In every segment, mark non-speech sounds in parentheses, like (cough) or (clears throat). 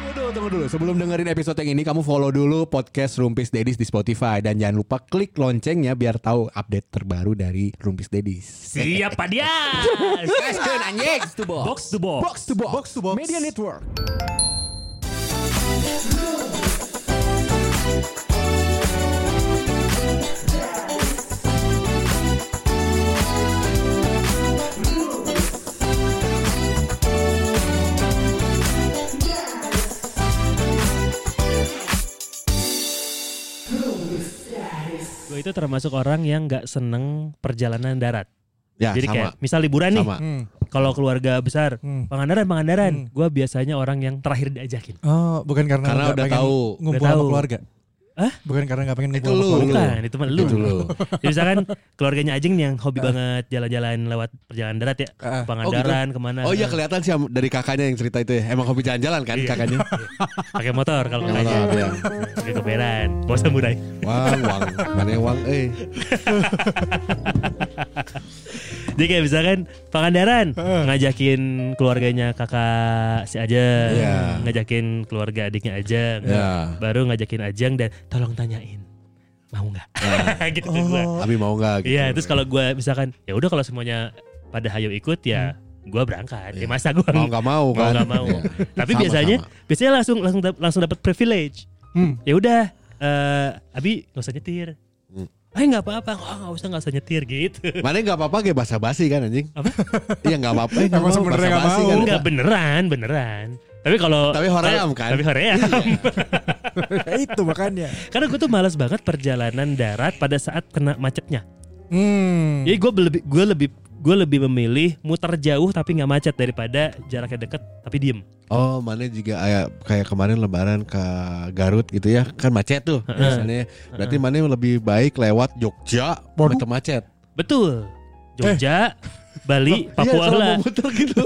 Tunggu dulu, tunggu dulu. Sebelum dengerin episode yang ini, kamu follow dulu podcast Rumpis Dedis di Spotify dan jangan lupa klik loncengnya biar tahu update terbaru dari Rumpis Dedis. Siapa dia? Question anjing. Box to box. Box to box. Box to box. Box to box. Media Network. Gue itu termasuk orang yang nggak seneng perjalanan darat. Ya, Jadi kayak sama. misal liburan nih, Sama. Hmm. kalau keluarga besar, Hmm. Pangandaran, Pangandaran, Hmm. gue biasanya orang yang terakhir diajakin. Oh, bukan karena Karena nggak udah pengen tahu. ngumpul Udah sama tahu. keluarga. Hah? Bukan karena nggak pengen Itu ngumpul sama lu. keluarga. Bukan, itu mah lu. Itu (laughs) lu. Jadi misalkan keluarganya Ajeng nih yang hobi banget jalan-jalan lewat perjalanan darat ya, Ah, Pangandaran kemana? Oh iya kelihatan sih dari kakaknya yang cerita itu ya. Emang hobi jalan-jalan Iya. kan (laughs) kakaknya? pakai motor kalau Yang kakaknya. mana, Bang? Pakai keberan, bawa samurai. Wang, wang, mana yang wang? Eh, Jadi kayak misalkan Pangandaran ngajakin keluarganya kakak si Ajeng, Iya. ngajakin keluarga adiknya Ajeng, Iya. baru ngajakin Ajeng dan tolong tanyain mau nggak? Iya. (laughs) gitu ke gua. Abi mau nggak? gitu. Iya, terus kalau gua misalkan ya udah kalau semuanya pada hayo ikut ya gua berangkat. Iya. Ya masa gua mau nggak mau mau kan? nggak mau. Iya. Tapi Sama, biasanya sama. biasanya langsung langsung dap- langsung dapat privilege. Hmm. Ya udah, eh Abi nggak usah nyetir. Hmm. Eh nggak apa-apa, oh, nggak usah nggak usah nyetir gitu. Mana nggak apa-apa kayak basa-basi kan anjing? Apa? Iya nggak apa-apa. eh, nggak Emang mau, sebenarnya nggak basa-basi mau. kan? Enggak beneran, beneran. Tapi kalau Tapi hoream kan? Tapi hoream. Ya, (laughs) itu makanya. (laughs) Karena gue tuh malas banget perjalanan darat pada saat kena macetnya. Hmm. Jadi gue lebih gue lebih gue lebih memilih muter jauh tapi nggak macet daripada jaraknya deket tapi diem. Oh, mana juga kayak kayak kemarin lebaran ke Garut gitu ya, kan macet tuh misalnya. Berarti mana lebih baik lewat Jogja Waduh. macet macet. Betul. Eh. (laughs) Jogja, Bali, Iya, Papua selalu lah. muter (laughs) gitu.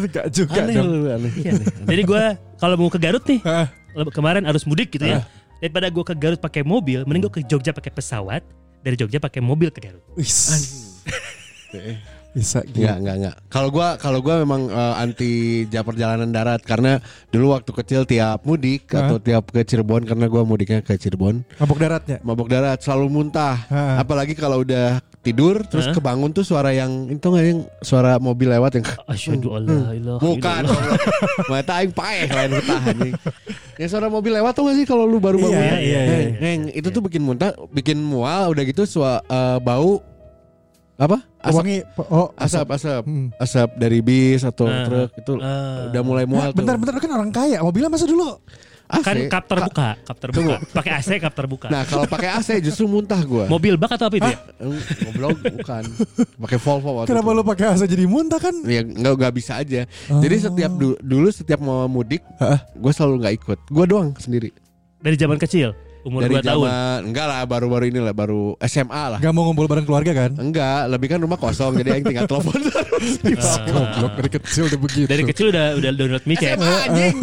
Enggak juga aneh dong. lu, aneh. Iya Jadi (laughs) gue kalau mau ke Garut nih, Hah? le- kemarin arus mudik gitu Ah. ya. Daripada gue ke Garut pakai mobil, mending gue ke Jogja pakai pesawat. Dari Jogja pakai mobil ke Hmm. Garut. Wis. Eh, Bisa Enggak, gila. enggak, enggak. Kalau gua kalau gua memang eh, anti ja- perjalanan darat karena dulu waktu kecil tiap mudik Hah? atau tiap ke Cirebon karena gua mudiknya ke Cirebon, Mabok daratnya. mabok darat selalu muntah. Hah. Apalagi kalau udah tidur terus Hah? kebangun tuh suara yang itu nggak yang suara mobil lewat yang Asyhadu alla ilaha Hmm. (laughs) Bukan. illallah. Mata aing paeh lain betah anjing. Yang suara mobil lewat tuh gak sih kalau lu baru bangun? Iya, iya, iya, Neng, iya. neng, itu tuh bikin muntah, bikin mual, udah gitu sua, eh, bau apa? Asap, Wangi. Oh, asap, asap, Hmm. asap dari bis atau Ah, truk itu ah. udah mulai mual Nah, bentar, tuh. bentar kan orang kaya. Mobilnya masa dulu. AC. Kan kap terbuka, kap terbuka. Pakai AC kap terbuka. Nah kalau pakai AC justru muntah gua. Mobil bak atau apa itu ya? Eh, Ngoblok bukan. Pakai Volvo waktu Kenapa itu. lu pakai asa jadi muntah kan? Ya nggak nggak bisa aja. Jadi Oh. setiap du- dulu setiap mau mudik, Hah? gue selalu nggak ikut. Gue doang sendiri. Dari zaman kecil, umur dari 2 tahun. zaman enggak lah baru-baru ini lah baru SMA lah Gak mau ngumpul bareng keluarga kan? enggak lebih kan rumah kosong jadi aing tinggal telepon (laughs) terus di bawah. Goblok dari kecil udah begitu. Dari kecil udah udah download micet. (laughs) SMA eh, anjing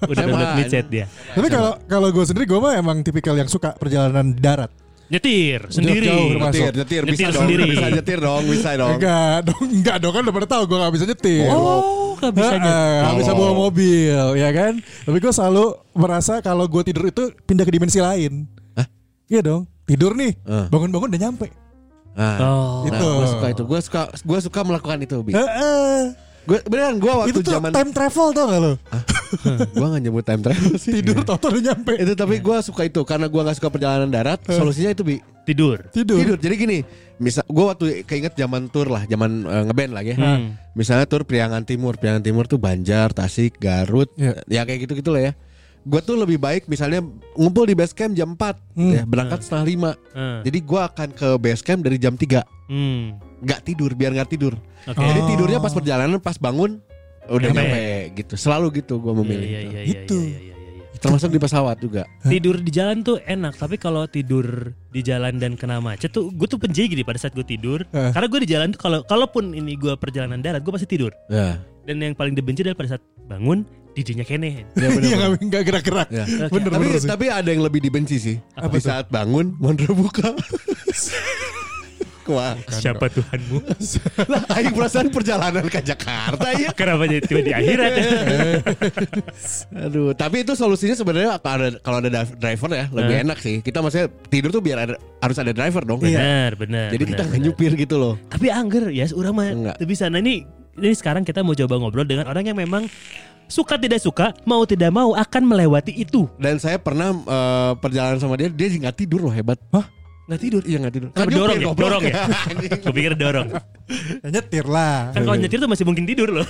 udah SMA. download micet dia. Tapi kalau kalau gue sendiri gue mah emang tipikal yang suka perjalanan darat. Nyetir sendiri. jauh rumah. nyetir nyetir bisa Nyetir dong sendiri. bisa nyetir dong bisa dong Enggak dong, enggak dong kan udah pada tahu gue gak bisa nyetir. Oh, gak bisa Heeh, nyetir. nggak bisa bawa Oh. mobil, ya kan? Tapi gue selalu merasa kalau gue tidur itu pindah ke dimensi lain. Hah? Iya dong, tidur nih, Eh. bangun-bangun udah nyampe. nah, Oh. Itu. gue suka itu gue suka gue suka melakukan itu bi Heeh. gue beneran gue waktu Eh? Itu tuh zaman Ah, time travel tau gak lo? gue nggak nyebut time travel (laughs) sih Tidur tau udah nyampe. iya. itu tapi gue suka itu karena gue nggak suka perjalanan darat Eh. solusinya itu bi Tidur. Tidur. tidur jadi gini misal gue waktu keinget zaman tour lah zaman eh, ngeband lah ya Hmm. misalnya tur Priangan Timur Priangan Timur tuh Banjar Tasik Garut Iya. ya kayak gitu gitu lah ya gue tuh lebih baik misalnya ngumpul di base camp jam 4 ya, berangkat setengah lima Hmm. jadi gue akan ke base camp dari jam 3 Hmm. nggak tidur biar nggak tidur Oke. jadi tidurnya pas perjalanan pas bangun udah Oh. Nyampe. nyampe, gitu selalu gitu gue Iya, memilih iya, itu. iya, iya, Itu. iya, iya, iya, iya. termasuk di pesawat juga Tidur di jalan tuh enak, tapi kalau tidur di jalan dan kena macet tuh gue tuh penjegi gini pada saat gue tidur. Eh. Karena gue di jalan tuh kalau kalaupun ini gue perjalanan darat, gue pasti tidur. (laughs) ya, Dan yang paling dibenci adalah pada saat bangun didinya kene. ya Iya bener-bener. nggak- nggak gerak-gerak. Ya. Bener tapi bener sih. tapi ada yang lebih dibenci sih di saat bangun mondar buka Wah. Siapa (laughs) Tuhanmu? Lah, aing perasaan perjalanan ke Jakarta ya. Kenapa Iya. jadi tiba di akhirat? Iya. Aduh, tapi itu solusinya sebenarnya kalau ada kalau ada dive- driver ya lebih Eh. enak sih. Kita maksudnya tidur tuh biar ada- harus ada driver dong. kan? Benar, benar. Jadi benar, kita nggak benar. nyupir gitu loh. Tapi angger ya, orang mah Enggak. teu bisa. Nah ini, ini sekarang kita mau coba ngobrol dengan orang yang memang suka tidak suka, mau tidak mau akan melewati itu. Dan saya pernah eh, perjalanan sama dia, dia nggak tidur loh hebat. Hah? Nggak tidur? Iya nggak tidur. Kenapa Nggak dorong nyupir, ya? goblok. Dorong (laughs) ya? Gue pikir dorong. Nyetir lah. Kan Iya. kalau nyetir tuh masih mungkin tidur (laughs) loh.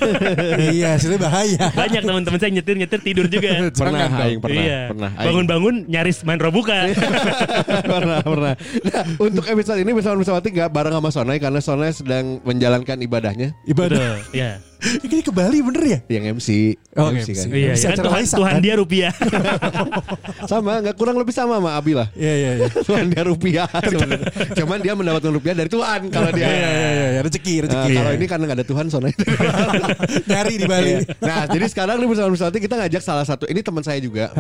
iya, sini bahaya. Banyak teman-teman saya nyetir-nyetir tidur juga. Pernah, Jangan dong. Aing, (laughs) pernah, iya. pernah. Iya. Aing. Bangun-bangun nyaris main robuka. (laughs) pernah pernah. Nah, untuk episode ini bersama Misawati nggak bareng sama Sonai karena Sonai sedang menjalankan ibadahnya Ibadah. Betul, Iya. Ini ke Bali bener ya? yang MC. Oh, MC. kan. Iya, Bisa ya kan acara Tuhan, waisak, Tuhan kan? dia rupiah. Sama nggak kurang lebih sama sama Abi lah. Iya, iya, iya. Tuhan dia (laughs) rupiah. sebenarnya. Cuman dia mendapatkan rupiah dari Tuhan kalau dia. Iya, iya, iya, iya. Iya. Rezeki, Nah, rezeki. kalau ini karena nggak ada Tuhan (laughs) Sonai. Nyari di Bali. nah, jadi sekarang di bersama Misawati kita ngajak salah satu ini teman saya juga.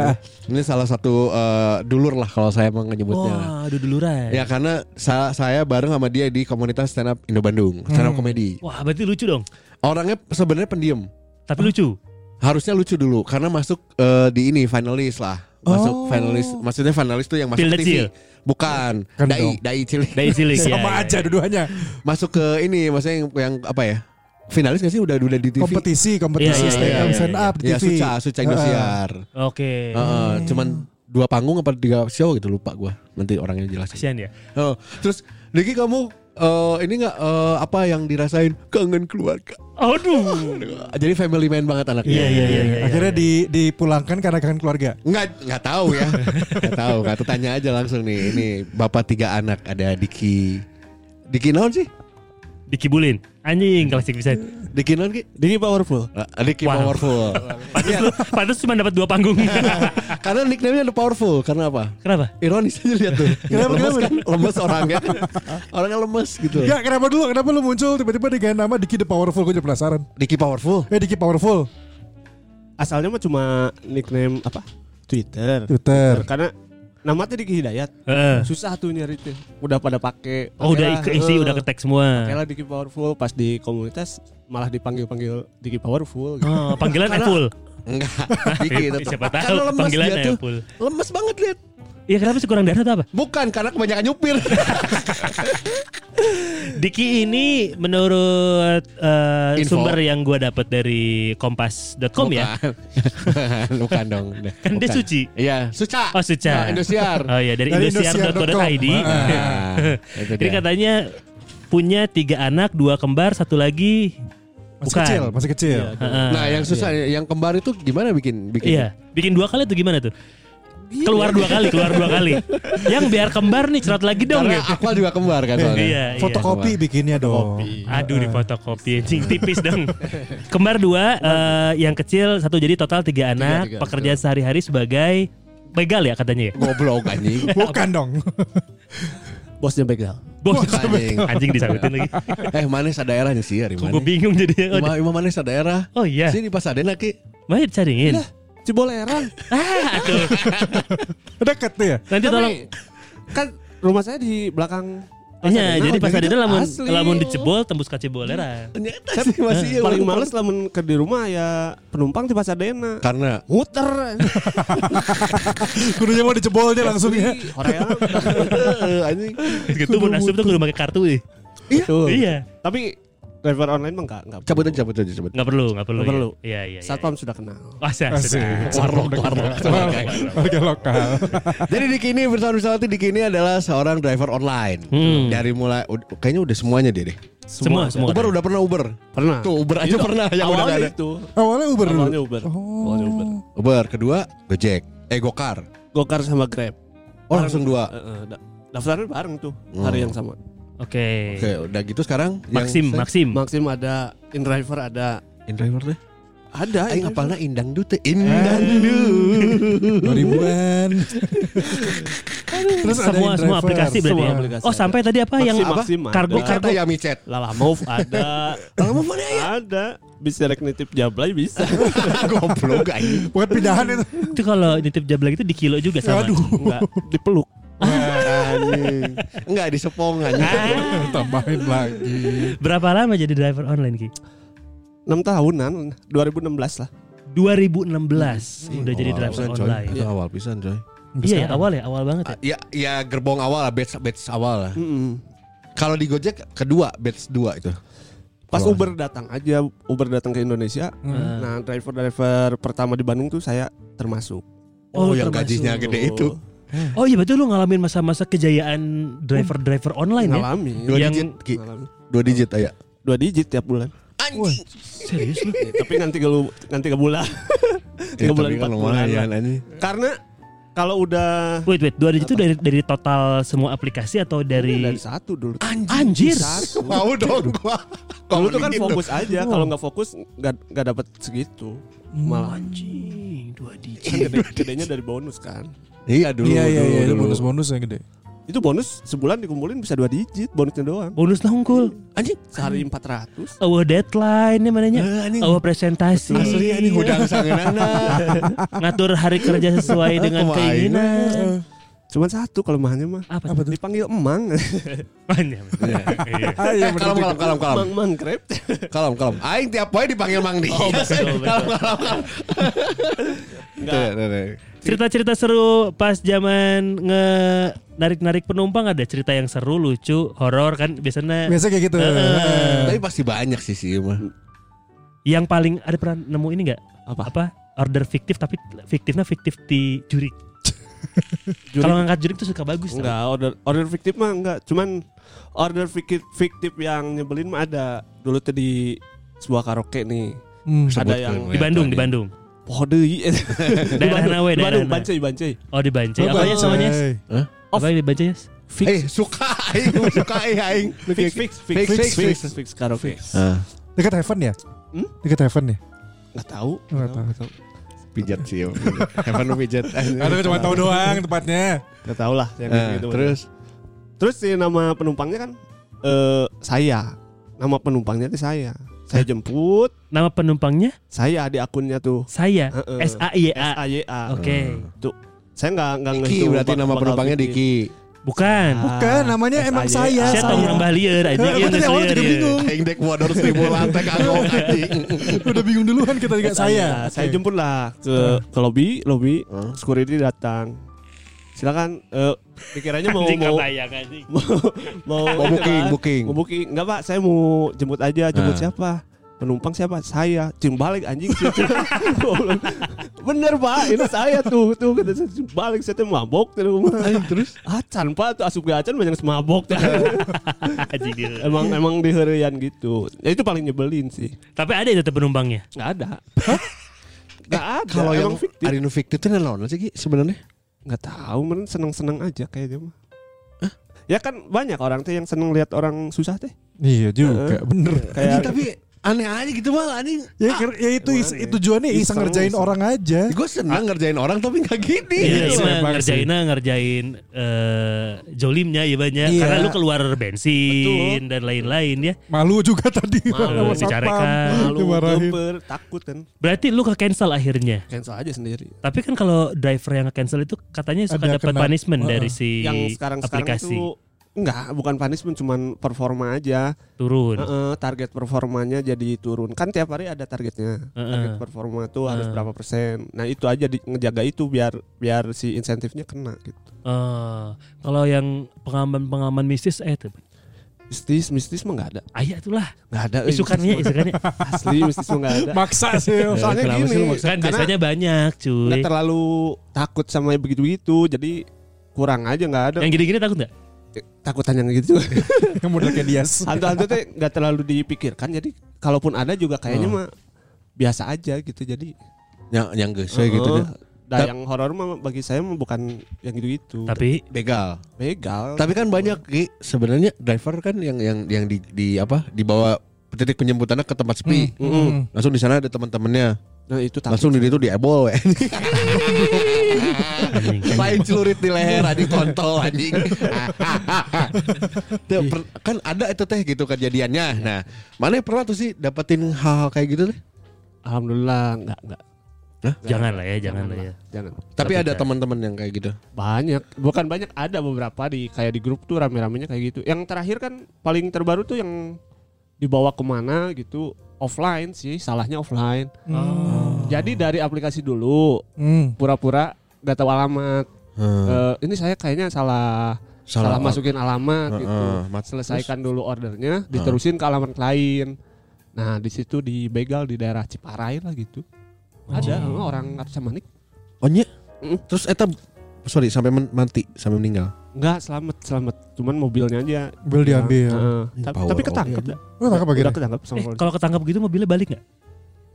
ini salah satu eh, dulur lah kalau saya mau menyebutnya. Oh. lah. Wah, aduh duluran. Ya karena sa- saya bareng sama dia di komunitas stand up Indo Bandung, stand up Hmm. comedy. Wah, berarti lucu dong. Orangnya sebenarnya pendiam. Tapi (laughs) lucu. Harusnya lucu dulu karena masuk eh, di ini finalis lah. Masuk Oh. finalis, maksudnya finalis tuh yang masuk Pilda TV. Cil. Bukan, Kan dai, dong. dai cilik. Dari silik ya. Sama ya, aja ya. dua-duanya. Masuk ke ini maksudnya yang, yang apa ya? Finalis gak sih udah udah di TV? Kompetisi, Iya, kompetisi iya, stand iya, up, iya, stand iya. up di Ah. Ya TV. Suca, Suca Indosiar. Oke. Heeh, cuman dua panggung apa tiga show gitu lupa gua. Nanti orangnya jelasin. Kasihan ya. Oh, terus Diki kamu eh, ini nggak eh, apa yang dirasain kangen keluarga? Aduh. Jadi family man banget anaknya. Iya, iya, iya. Akhirnya di dipulangkan karena kangen keluarga. Nggak nggak tahu ya. nggak tahu. Nggak tahu. tanya aja langsung nih. Ini bapak tiga anak ada Diki. Diki naon sih? Dikibulin. Anjing klasik bisa. Diki naon Ki? Diki powerful. Eh, Diki Wow. (laughs) powerful. Pantas lu, pantas cuma dapat dua (laughs) panggung. karena nickname-nya ada powerful. Karena apa? Kenapa? Ironis aja lihat tuh. Kenapa, Iya, lemes kenapa? kan? Lemes orangnya. orangnya lemes gitu. Ya kenapa dulu? Kenapa lu muncul tiba-tiba dengan nama Diki the Powerful? Gue jadi penasaran. Diki powerful. Eh Diki Powerful Asalnya mah cuma nickname apa? Twitter. Twitter. Karena nama tuh Diki Hidayat. Eh. Heeh. Susah tuh nyari tuh. Udah pada Eh. pakai. Oh udah keisi, udah ketek semua. Kayaklah Diki Powerful pas di komunitas malah dipanggil-panggil Diki Powerful. Gitu. Oh, panggilan Apple. (laughs) Enggak. Diki itu. Iya, Siapa tahu Karena lemes dia panggilannya tuh. Apple. Lemes banget lihat. Iya kenapa sih kurang darah atau apa? Bukan karena kebanyakan (laughs) nyupir. Diki ini menurut eh, Info. sumber yang gua dapat dari kompas.com ya. Bukan. (laughs) Bukan dong. Kan dia Bukan. suci. Iya, Suca. Oh Nah, Suca. (laughs) Indosiar. Oh iya dari, Dari indosiar.co.id. indosiar.com. Nah, itu Jadi dia. katanya punya tiga anak, dua kembar, satu lagi Masih bukan. Iya, kan. kecil, masih kecil. Heeh. Nah, yang susah yang kembar itu gimana bikin bikin? Iya, bikin dua kali tuh gimana tuh? Iya. Keluar dua kali, keluar dua (laughs) kali. Yang biar kembar nih cerot lagi dong Karena gitu. aku juga kembar kan soalnya. Iya, iya. Fotokopi bikinnya dong. gitu. Aduh Ah. di fotokopi anjing tipis dong. Kembar dua, eh, yang kecil satu jadi total tiga anak. tiga, pekerjaan sehari-hari sebagai begal ya katanya. ya? (laughs) Goblok anjing. Bukan dong. (laughs) (laughs) Bosnya begal. Bos anjing. (laughs) anjing disabutin lagi. eh, mana sadaerahnya sih hari Gue mana? bingung jadi. Ima, ima mana sadaerah? Oh iya, Sini pas ada lagi. mau dicariin. Cibolerang. Ah, aduh. Dekat tuh ya. Nanti tolong. kan rumah saya di belakang Iya, Pasadena, jadi pas ada lamun asli. lamun dicebol tembus kaca (laughs) bolera. Ternyata Saya sih masih iya, paling walaupun- males lamun ke di rumah ya penumpang di Pasadena. karena Muter. Kudunya mau dicebolnya Iya, langsung ya. Korea. Eh, anjing. Gitu pun asup tuh kudu pakai kartu ih. Betul. Iya. Tapi driver online mah enggak enggak. Cabut perlu. aja, cabut aja, cabut. Enggak perlu, enggak perlu. Nggak iya. perlu. Iya, iya. iya. Satpam sudah kenal. Wah, saya Asik. Warlock, warlock. Warlock. Warga lokal. Jadi Diki ini bersama Wisawati Diki ini adalah seorang driver online. Hmm. Dari mulai ud- kayaknya udah semuanya dia deh. Semua, semua. Uber udah pernah Uber. Pernah. Tuh Uber aja pernah yang udah nggak Ah. Awalnya ada. Oh. itu. Awalnya Uber dulu. Awalnya Uber. Awalnya Uber. Uber kedua Gojek. Eh Gokar. Gokar sama Grab. Oh langsung dua. Heeh, da- daftarnya bareng tuh Oh. hari yang sama. Oke. Oke udah gitu sekarang. Maxim, yang, Maxim. Maxim ada, InDriver ada. In driver deh. Ayo Ada. InDriver. ngapalnya Indang Dute. Indang Dute. 2000-an. Terus ada semua yang semua driver. aplikasi berarti semua ya? aplikasi Oh, ada. sampai tadi apa yang Maxim, apa? Maxim ada. kargo Micet kargo Kata ya micet. (laughs) Lala Move ada. Lala Move mana ya? Ada. Bisa nitip jablay bisa. Goblok (laughs) anjing. Bukan pindahan itu. itu kalau nitip jablang itu di kilo juga sama. Aduh. Enggak dipeluk. Nah, anjing. Enggak di Sepong anjing. Tambahin lagi. Berapa lama jadi driver online Ki? 6 tahunan 2016 lah 2016 Hmm. udah jadi Awal driver pisan, coy. online. Itu awal pisan coy. Iya ya, awal ya, awal banget ya. Iya. Ah, Ya ya gerbong awal lah, batch batch awal lah. Mm-mm. Kalau di Gojek kedua batch dua itu. pas Keluar. Uber datang aja Uber datang ke Indonesia Hmm. nah driver driver pertama di Bandung tuh saya termasuk Oh, Oh, yang termasuk. gajinya gede itu. Oh iya betul lu ngalamin masa-masa kejayaan driver-driver online ya? ngalami Dua Yang- digit, Ki. Ngalami. Dua digit ah, ya. aja. dua digit tiap (laughs) bulan Anjing. Serius lu? Ya, tapi nanti ke nanti ke (laughs) bulan Iya, tiga bulan empat bulan lah. kan anjing. karena kalau udah Wait wait, dua digit itu dari dari total semua aplikasi atau dari dari satu dulu anjir? satu Mau dong gua. Dulu Kalau tuh kan gitu. fokus aja, kalau nggak fokus nggak nggak dapat segitu. Hmm. Malah Anjing, dua digit. kan gede, gedenya dari bonus kan. Iya dulu. Iya iya iya, itu dulu. bonus-bonus yang gede. Itu bonus sebulan dikumpulin bisa dua digit bonusnya doang. Bonus lah unggul. Anjing. Sehari 400 Awal deadline nih mananya. Eh, anjing. Awal presentasi. Asli ini Iya. hudang (laughs) sangenana. Ngatur hari kerja sesuai dengan Kumaha Iya. (laughs) keinginan. Cuman satu kelemahannya mah. Apa? Apa tuh? Dipanggil emang. Apanya? Iya, Ayo Kalem gitu. kalem kalem kalem. Emang emang krep. Kalem kalem. Aing tiap poin dipanggil Mang Di. Oh, betul, betul. Tuh, tuh, tuh. Cerita-cerita seru pas zaman nge narik-narik penumpang ada cerita yang seru, lucu, horor kan biasanya. Biasa kayak gitu. Heeh. Tapi pasti banyak sih sih mah. Yang paling ada pernah nemu ini nggak? Apa? Order fiktif tapi fiktifnya fiktif di jurik. Kalau ngangkat jurik tuh suka bagus. tau. Enggak, order order fiktif mah enggak. Cuman order fiktif fiktif yang nyebelin mah ada. Dulu tuh di sebuah karaoke nih. Hmm. Ada Sebutkan ya. yang- gue Di Bandung, di tadi. Bandung. Pohdei. Daerah Hanawe, Di daerah Bandung, Hanawe. Bancai, Bancai. Oh di Banci. Apa ya semuanya? Apa ya, yang di Banci yes? Eh suka aing, suka aing aing. Fix, fix, fix, Fix, fix, fix. fix, karaoke. Ah, Dekat Heaven ya? Hmm? Dekat Heaven ya? Nggak tahu. Nggak tahu. Nggak tahu. pijat sih. Evan lu pijat. Aduh cuma tahu doang tempatnya. Nggak tahu lah. yang Ah, gitu-gitu. Terus Terus si nama penumpangnya kan eh saya. Nama penumpangnya itu saya. Saya jemput, Nama penumpangnya saya di akunnya tuh. saya Heeh. S A I E A. S A Y A. Oke. Saya nggak nggak Ki ngitung berarti bak- nama bakal penumpangnya bikin. Diki. Bukan. Bukan, namanya Ah. S.A.Y.A.. emang saya. Saya tahu nambah liar aja Iya, makanya awalnya juga bingung. Aing dek modal seribu lantai kagok anjing. Udah bingung duluan kita S.A.Y.A.. juga saya. Saya Oke. jemput lah ke ke lobi, lobi. Security datang. Silakan eh dikiranya mau Anjing mau kebayang, anjing. mau Oh booking, kan? booking. Mau booking. Enggak, Pak, saya mau jemput aja, jemput Ah. siapa? Penumpang siapa? Saya. Cing (laughs) balik anjing. Bener, Pak. Ini saya tuh, tuh kata saya "Cing balik saya tuh mabok di rumah. terus acan, Pak, tuh asup ke acan banyak semabok. (laughs) Anjing dia. emang emang diherian gitu. Ya itu paling nyebelin sih. Tapi ada itu penumpangnya. Enggak ada. Enggak ada. Kalau yang Emang fiktif. Arino fiktif itu naon sih Ki sebenarnya? Nggak tahu, men seneng-seneng aja kayaknya mah. Ya kan banyak orang teh yang seneng lihat orang susah teh. Iya juga, bener. Anjing, Kayak tapi aneh aja gitu mah anjing. Ya, kir- ya itu is- Gimana ya? tujuannya iseng Iseng, ngerjain iseng. orang aja. Gue senang ngerjain orang tapi nggak gini. Iya, Iya, iya, iya, Bang, ngerjain ngerjain eh, jolimnya ya banyak Iya. karena lu keluar bensin dan lain-lain ya. Malu juga (laughs) tadi. Malu, Sama dicarekan. satpam. malu, Dimarahin. geper, takut kan. Berarti lu ke cancel akhirnya. Cancel aja sendiri. Tapi kan kalau driver yang cancel itu katanya suka Ada dapat kena- punishment Heeh. dari si yang sekarang sekarang aplikasi tuh enggak bukan punishment cuman performa aja turun. Heeh, target performanya jadi turun kan tiap hari ada Heeh. targetnya Hmm. target performa tuh harus Heeh. berapa persen nah itu aja di, ngejaga itu biar biar si insentifnya kena gitu Eh, kalau yang pengaman-pengaman mistis eh tuh mistis mistis mah nggak ada ayah itulah nggak ada eh, isukannya mistis isukannya. mah. asli mistis mah (laughs) nggak ada Maksa sih. soalnya kenapa gini sih lu maksa? kan biasanya banyak nggak cuy. terlalu takut sama yang begitu-begitu jadi kurang aja nggak ada Yang gini-gini takut nggak? takutan yang gitu Yang model kayak Dias. (laughs) hantu-hantu teh nggak terlalu dipikirkan jadi kalaupun ada juga kayaknya Oh. mah biasa aja gitu jadi Yang yang geus we gitu Heeh. deh. Nah, Tap- yang horor mah bagi saya mah bukan yang gitu-gitu. Tapi Begal. begal. Tapi kan banyak Ki sebenarnya driver kan yang yang yang di, di apa dibawa titik penjemputannya ke tempat sepi. Mm. Langsung di sana ada teman-temannya. Hmm. Nah, itu takut. Langsung di itu (laughs) diebol we. anjing. Lain celurit di leher anjing kontol anjing. (laughs) Tuh, per- kan ada itu teh gitu kejadiannya. Nah, mana pernah tuh sih dapetin hal-hal kayak gitu teh? Alhamdulillah enggak enggak. Jangan lah ya, jangan lah ya. Jangan. Tapi ada teman-teman yang kayak gitu. Banyak, bukan banyak ada beberapa di kayak di grup tuh rame-ramenya kayak gitu. Yang terakhir kan paling terbaru tuh yang dibawa kemana gitu offline sih, salahnya offline. Jadi Oh. dari aplikasi dulu Hmm. pura-pura gak tahu alamat. Hmm. Eh, ini saya kayaknya salah salah, Salah masukin alamat Heeh, gitu. mat- Selesaikan dulu ordernya, diterusin ke alamat lain. Nah, di situ dibegal di daerah Ciparai lah gitu. Ada eh, orang Manik Oh nye? Mm. Terus eta sorry sampai men- mati, sampai meninggal. Enggak, selamat, selamat. Cuman mobilnya aja. Mobil diambil. Heeh. Ih, tapi, power tapi off. ketangkep. dah. Oh, ketangkep Udah akhirnya? ketangkep sama Eh, polisi. kalau ketangkap gitu mobilnya balik nggak?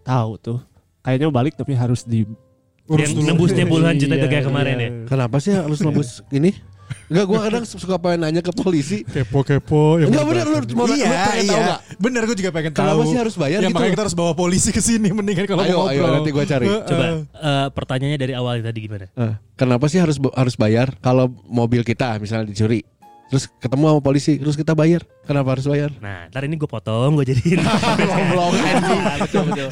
Tahu tuh. Kayaknya balik tapi harus di Urus Yang dulu. nembusnya puluhan juta itu kayak Iya, kemarin iya. ya. Kenapa sih harus (laughs) nembus ini? Enggak gua kadang suka pengen nanya ke polisi. kepo-kepo. ya Enggak bener bener. lu mau lu Iya, pengen tahu iya. enggak? Bener gue juga pengen Kenapa tahu. sih harus bayar ya gitu? makanya kita harus bawa polisi ke sini mendingan kalau Ayo, mau ayo, ngobrol. nanti gua cari. Heeh. Coba eh, pertanyaannya dari awal tadi gimana? Eh, kenapa sih harus harus bayar kalau mobil kita misalnya dicuri? Terus ketemu sama polisi, terus kita bayar. Kenapa harus bayar? Nah, ntar ini gue potong, gue jadiin. (laughs) Goblok, anjing. betul, betul.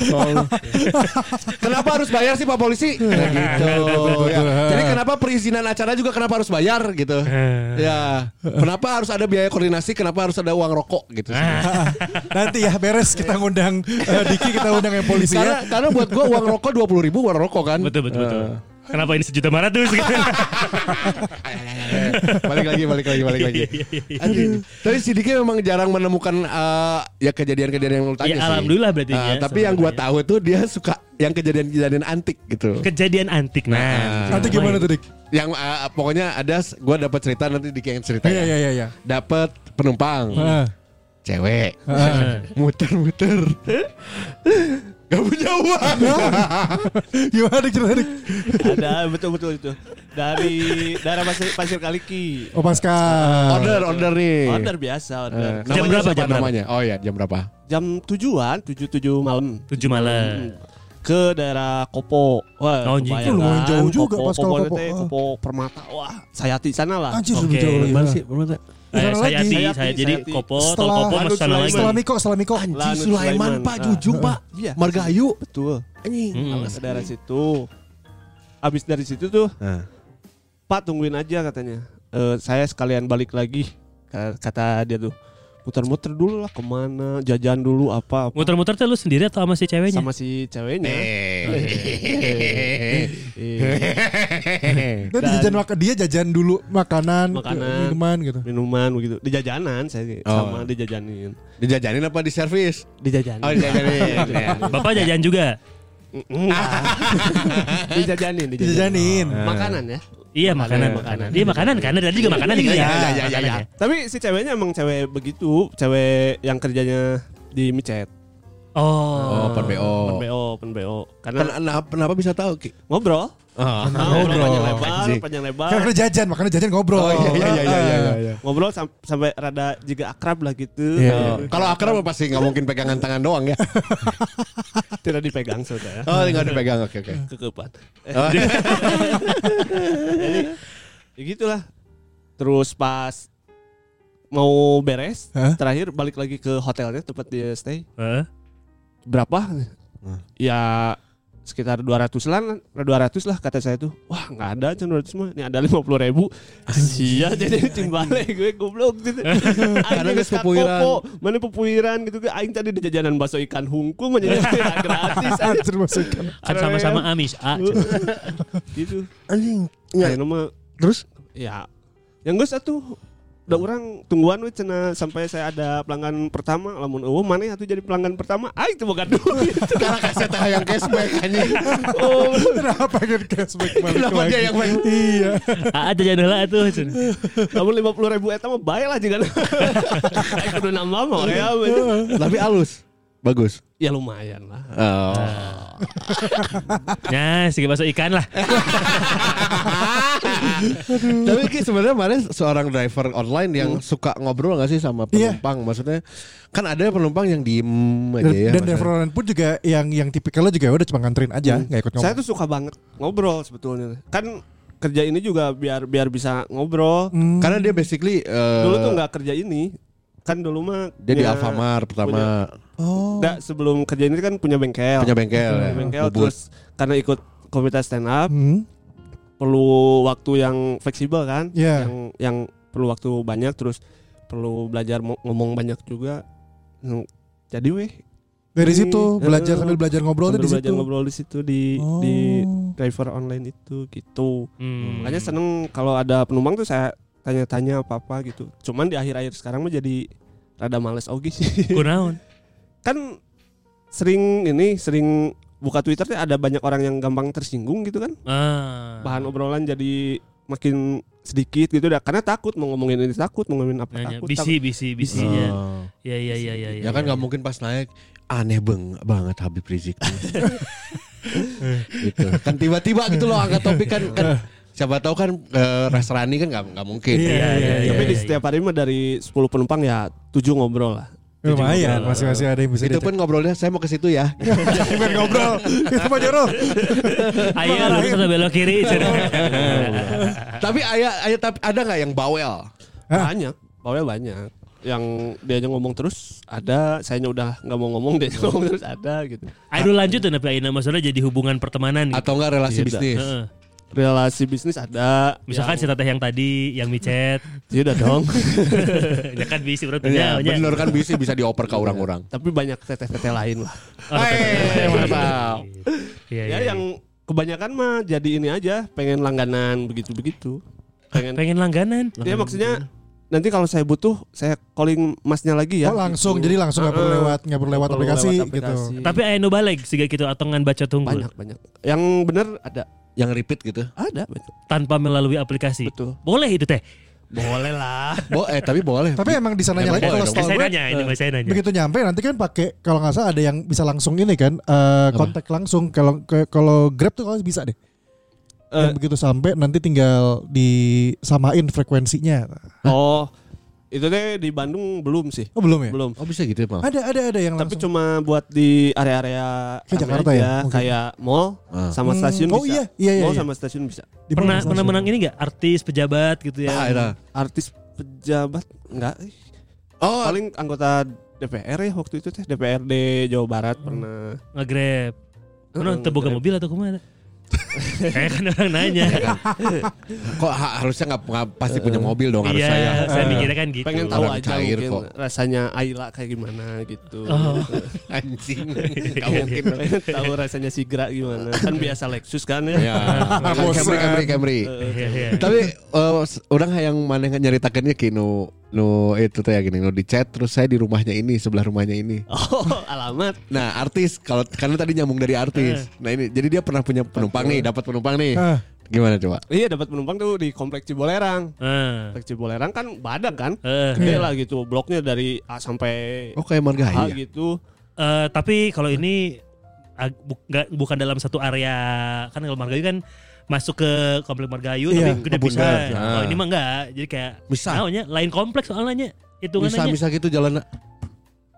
Kenapa harus bayar sih Pak Polisi? (laughs) Nah, gitu. ya. Jadi kenapa perizinan acara juga kenapa harus bayar gitu? Ya, kenapa harus ada biaya koordinasi? Kenapa harus ada uang rokok gitu? (laughs) Nanti ya beres kita ngundang eh, Diki kita undang yang polisi Karena ya. karena buat gua uang rokok dua puluh ribu uang rokok kan. Betul, betul, betul. Kenapa ini sejuta lima ratus? Eh, (laughs) balik lagi, balik lagi, balik Iya, lagi. (laughs) Anjing. Tapi si Diki memang jarang menemukan eh, ya kejadian-kejadian yang lu tanya Ya, sih. alhamdulillah berarti Eh, ya, tapi yang gua sebenarnya. tahu tuh dia suka yang kejadian-kejadian antik gitu. Kejadian antik. Nah, Nanti gimana tuh Dik? yang eh, pokoknya ada gua dapat cerita nanti Diki yang cerita. ya. Iya iya iya iya. Dapat penumpang. Ah. Heeh. cewek (laughs) muter-muter gak punya uang Gimana Dik cerita Dik? ada betul-betul itu. Dari daerah Pasir, Pasir Kaliki. Oh pasca. (laughs) order order nih Order biasa, order. Eh, Jam namanya berapa, siapa jam berapa? namanya oh ya jam berapa Jam tujuan, tujuh tujuh malam. Tujuh malam. ke daerah Kopo. Wah, Oh, anjing. Itu kebayang lumayan kan. jauh juga, Kopo, Pascal, Kopo, Kopo. teh, Ah. Kopo Permata. Wah, sayati sana lah. Anjir Oke. lebih jauh lagi. Gimana Sana Eh, lagi. Sayati, Sayati, saya jadi Sayati. kopo, tol Setelah kopo Lanut masih sana lagi. Setelah Miko, setelah Miko. Anji Lanut Sulaiman Sulaiman, pak ah. Jujung pak (laughs) Iya. Margayu Betul. anjing Mm-mm. Hmm. Ke daerah situ. Abis dari situ tuh, Nah. Pak tungguin aja katanya. Eh, saya sekalian balik lagi Ka- kata dia tuh. Muter-muter dulu lah kemana, jajan dulu apa, apa. Muter-muter tuh lu sendiri atau sama si ceweknya? sama si ceweknya. (laughs) Eh, Eh. Dan jajan makan dia jajan dulu makanan, Makanan. Iya, minuman gitu. minuman begitu di jajanan saya Oh. sama dijajanin (laughs) dijajanin apa di servis dijajanin oh dijajanin Ya. Bapak jajan juga. (laughs) dijajanin Dijajanin. makanan ya Iya makanan, makanan. Iya makanan kan ada juga makanan juga. Iya, iya, iya, makanan iya. ya. Tapi si ceweknya emang cewek begitu, cewek yang kerjanya di micet. oh Oh, per BO Open BO, open BO. Karena kenapa, nah, kenapa bisa tahu Ki? ngobrol, Ah. ngobrol panjang lebar, Anjing. panjang lebar. Karena Kan jajan, makanya jajan ngobrol. Ah. Oh, iya, iya, iya, iya, iya, iya. Ngobrol sam- sampai rada juga akrab lah gitu. Iya. Kalau akrab mah pasti nggak mungkin pegangan tangan doang ya. Oh, Tidak dipegang (laughs) saudara. Oh, nggak dipegang. Oke, oke. Kekeupan. Eh, Oh. Jadi ya gitulah. Terus pas mau beres, Hah? terakhir balik lagi ke hotelnya tempat dia stay. Heeh. berapa? Ya sekitar 200 lah, 200 lah kata saya tuh. Wah nggak ada aja 200 mah, ini ada 50 ribu. Sia jadi timbale gue goblok gitu. (laughs) Karena geus pupuiran. Mana pupuiran gitu ke aing tadi di jajanan bakso ikan hungkul mah (laughs) jadi gratis anjing. Anjir masukkan. Kan sama-sama Amis. Ah, gitu. Anjing. Ya nama Terus ya yang gue satu udah orang tungguan we cenah sampai saya ada pelanggan pertama lamun eueuh mana atuh jadi pelanggan pertama aing teu boga gitu. duit. (laughs) karena kasih teh yang cashback anjing. (laughs) Kenapa kan cashback balik Kenapa lagi? dia yang main? Iya. ah jajan lah tuh. Namun lima puluh ribu eta mah bae lah juga. Aing (laughs) Kudu nambah mah ya. Tapi halus. Bagus. Ya lumayan lah. Oh. Ya, segi bakso ikan lah. (laughs) Tapi Ki sebenarnya mana seorang driver online yang suka ngobrol gak sih sama Iya. penumpang? Maksudnya kan ada penumpang yang diem aja ya. Dan, dan maksudnya. driver online pun juga yang yang tipikalnya juga ya, udah cuma nganterin Hmm. aja, nggak ikut Saya ngomong. tuh suka banget ngobrol sebetulnya. Kan kerja ini juga biar biar bisa ngobrol. Hmm. Karena dia basically eh, Dulu tuh nggak kerja ini. Kan dulu mah dia di punya- Alfamart pertama. punya Oh. Nggak, sebelum kerja ini kan punya bengkel. Punya bengkel. ya. bengkel Bubut. terus karena ikut komunitas stand up Hmm. perlu waktu yang fleksibel kan Iya. yang yang perlu waktu banyak terus perlu belajar mo- ngomong banyak juga Hmm, jadi weh Dari Ini, situ belajar eh, sambil belajar ngobrol tuh sambil di belajar situ. ngobrol di situ di Oh. di driver online itu gitu Hmm. makanya seneng kalau ada penumpang tuh saya tanya-tanya apa apa gitu cuman di akhir-akhir sekarang mah jadi rada males oge sih Kunaon? (laughs) kan sering ini sering buka Twitter tuh ada banyak orang yang gampang tersinggung gitu kan Ah. bahan obrolan jadi makin sedikit gitu dah karena takut mau ngomongin ini takut mau ngomongin apa Nanya, takut bisi, bisi, bisi, ya. Oh. Ya, ya, ya, ya, Ya kan nggak mungkin pas naik aneh beng banget Habib Rizik. gitu. Kan tiba-tiba gitu loh angkat topik kan kan siapa tahu kan eh, Resrani kan nggak nggak mungkin. Iya, Iya, iya, takut. iya. tapi di setiap hari mah dari 10 penumpang ya 7 ngobrol lah Lumayan, masih-masih ada yang bisa Itu pun ngobrolnya saya mau ke situ ya. (laughs) Pengen (laughs) ngobrol. Itu ya, Pak Jero. Ayo lurus atau belok kiri. tapi ayah ayah tapi ada nggak yang bawel? Hah? banyak bawel banyak yang dia aja ngomong terus ada sayanya udah nggak mau ngomong dia aja ngomong terus ada gitu Aduh lanjut tuh tapi Aina masalah jadi hubungan pertemanan. gitu. Atau nggak relasi Iya, bisnis? Heeh. relasi bisnis ada Misalkan si yang, teteh yang tadi yang micet. Iya, udah dong (laughs) ya kan bisi berarti Ya, ya. bener kan bisa bisa dioper ke orang-orang. tapi banyak teteh-teteh lain lah Oh, Hei, mantap. Iya, ya, iya. yang kebanyakan mah jadi ini aja pengen langganan begitu-begitu pengen pengen langganan. iya. Dia Iya, maksudnya nanti kalau saya butuh saya calling masnya Iya. lagi ya. Oh langsung, Gitu. jadi langsung nggak Eh, perlu Heeh. lewat nggak perlu lewat Perlu aplikasi lewat gitu. aplikasi. Tapi Aino balik sehingga gitu atongan baca tunggu banyak banyak. Yang benar ada Yang repeat gitu. ada banyak. tanpa melalui aplikasi. Betul. Boleh itu teh. Boleh (laughs) lah. Bo eh tapi boleh. Tapi emang di sananya Emang lagi boleh kalau dong. setahu saya gue, nanya, ini saya nanya. begitu nyampe nanti kan pakai kalau nggak salah ada yang bisa langsung ini kan eh, kontak langsung kalau ke- kalau Grab tuh kalau bisa deh. Eh. Dan begitu sampai nanti tinggal disamain frekuensinya. oh, itu deh di Bandung belum sih. Oh belum ya? Belum. Oh bisa gitu emang. Ada ada ada yang Tapi langsung. cuma buat di area-area Kayak rame Jakarta ya, mungkin. kayak mall Ah. sama Hmm. stasiun Oh, bisa. iya, iya, iya, Mall iya. sama stasiun bisa. Di pernah mana pernah langsung? menang ini nggak artis pejabat gitu ya? Ah, ada. Artis pejabat enggak? Oh, Paling anggota DPR ya waktu itu teh DPRD Jawa Barat pernah. Nge-grab. Mana Eh, teboga nge-grab. mobil (laughs) atau kemana? eh kan orang nanya. kok ha- harusnya nggak nggak- pasti punya mobil dong harus Iya, saya, saya. mikirnya kan gitu. pengen tahu Orang aja cair mungkin kok. rasanya Ayla kayak gimana gitu. Oh. Anjing. (laughs) Gak mungkin. Pengen tahu rasanya Sigra gimana. Kan biasa Lexus kan ya. Iya. Ya. Camry, Camry, Camry. Iya, iya. Tapi eh, s- orang yang mana yang nyeritakannya ki nu nu itu teh ya gini nu di chat terus saya di rumahnya ini sebelah rumahnya ini. (laughs) Oh, alamat. Nah artis kalau karena tadi nyambung dari artis. Eh. Nah ini jadi dia pernah punya penumpang nih dapat penumpang nih. Ah. Gimana coba? Iya dapat penumpang tuh di komplek Cibolerang. Ah. Komplek Cibolerang kan badak kan. Eh, Gede lah gitu bloknya dari A sampai Oh kayak marga H ya. gitu. eh, tapi kalau ini ag- bu- nggak- bukan dalam satu area kan kalau Margayu kan masuk ke komplek Margayu Iya, tapi gede kebun pisan. dah. Kalau ini mah enggak. Jadi kayak Bisa. Naunya, lain kompleks soalnya Bisa hitungannya. bisa gitu jalan.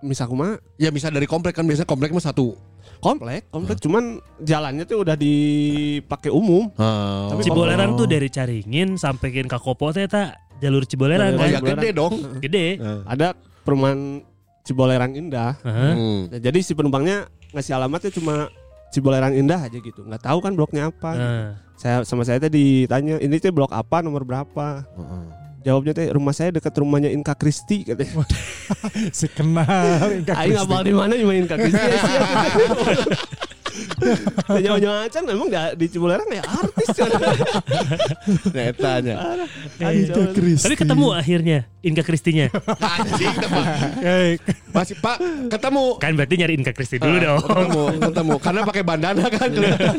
Misal mah Ya bisa dari komplek kan biasanya komplek mah satu. komplek, komplek cuman jalannya tuh udah dipakai umum. Oh. Tapi Cibolerang tuh dari Caringin sampai ke Kakopo teh tak jalur Oh Cibolerang kan ya gede dong. gede. Eh. Ada perumahan Cibolerang Indah. Heeh. Hmm. Nah, jadi si penumpangnya ngasih alamatnya cuma Cibolerang Indah aja gitu. nggak tahu kan bloknya Hmm. apa. Heeh. saya sama saya tadi ditanya ini teh blok apa nomor berapa jawabnya teh rumah saya dekat rumahnya Inka Kristi katanya Si kenal. Inka aing Kristi. ngapal di mana cuma Inka Kristi ya sih (laughs) Ya, nyawa-nyawa acan emang da- di Cibulerang ya artis kan Nah, tanya. Inka Kristi. Tapi ketemu ah. akhirnya Inka (laughs) Kristinya. (laughs) Anjing teman. Eh, Masih Pak ketemu. kan berarti nyari Inka Kristi dulu Ah. (laughs) dong. Ketemu, ketemu. Karena pakai bandana kan kelihatan.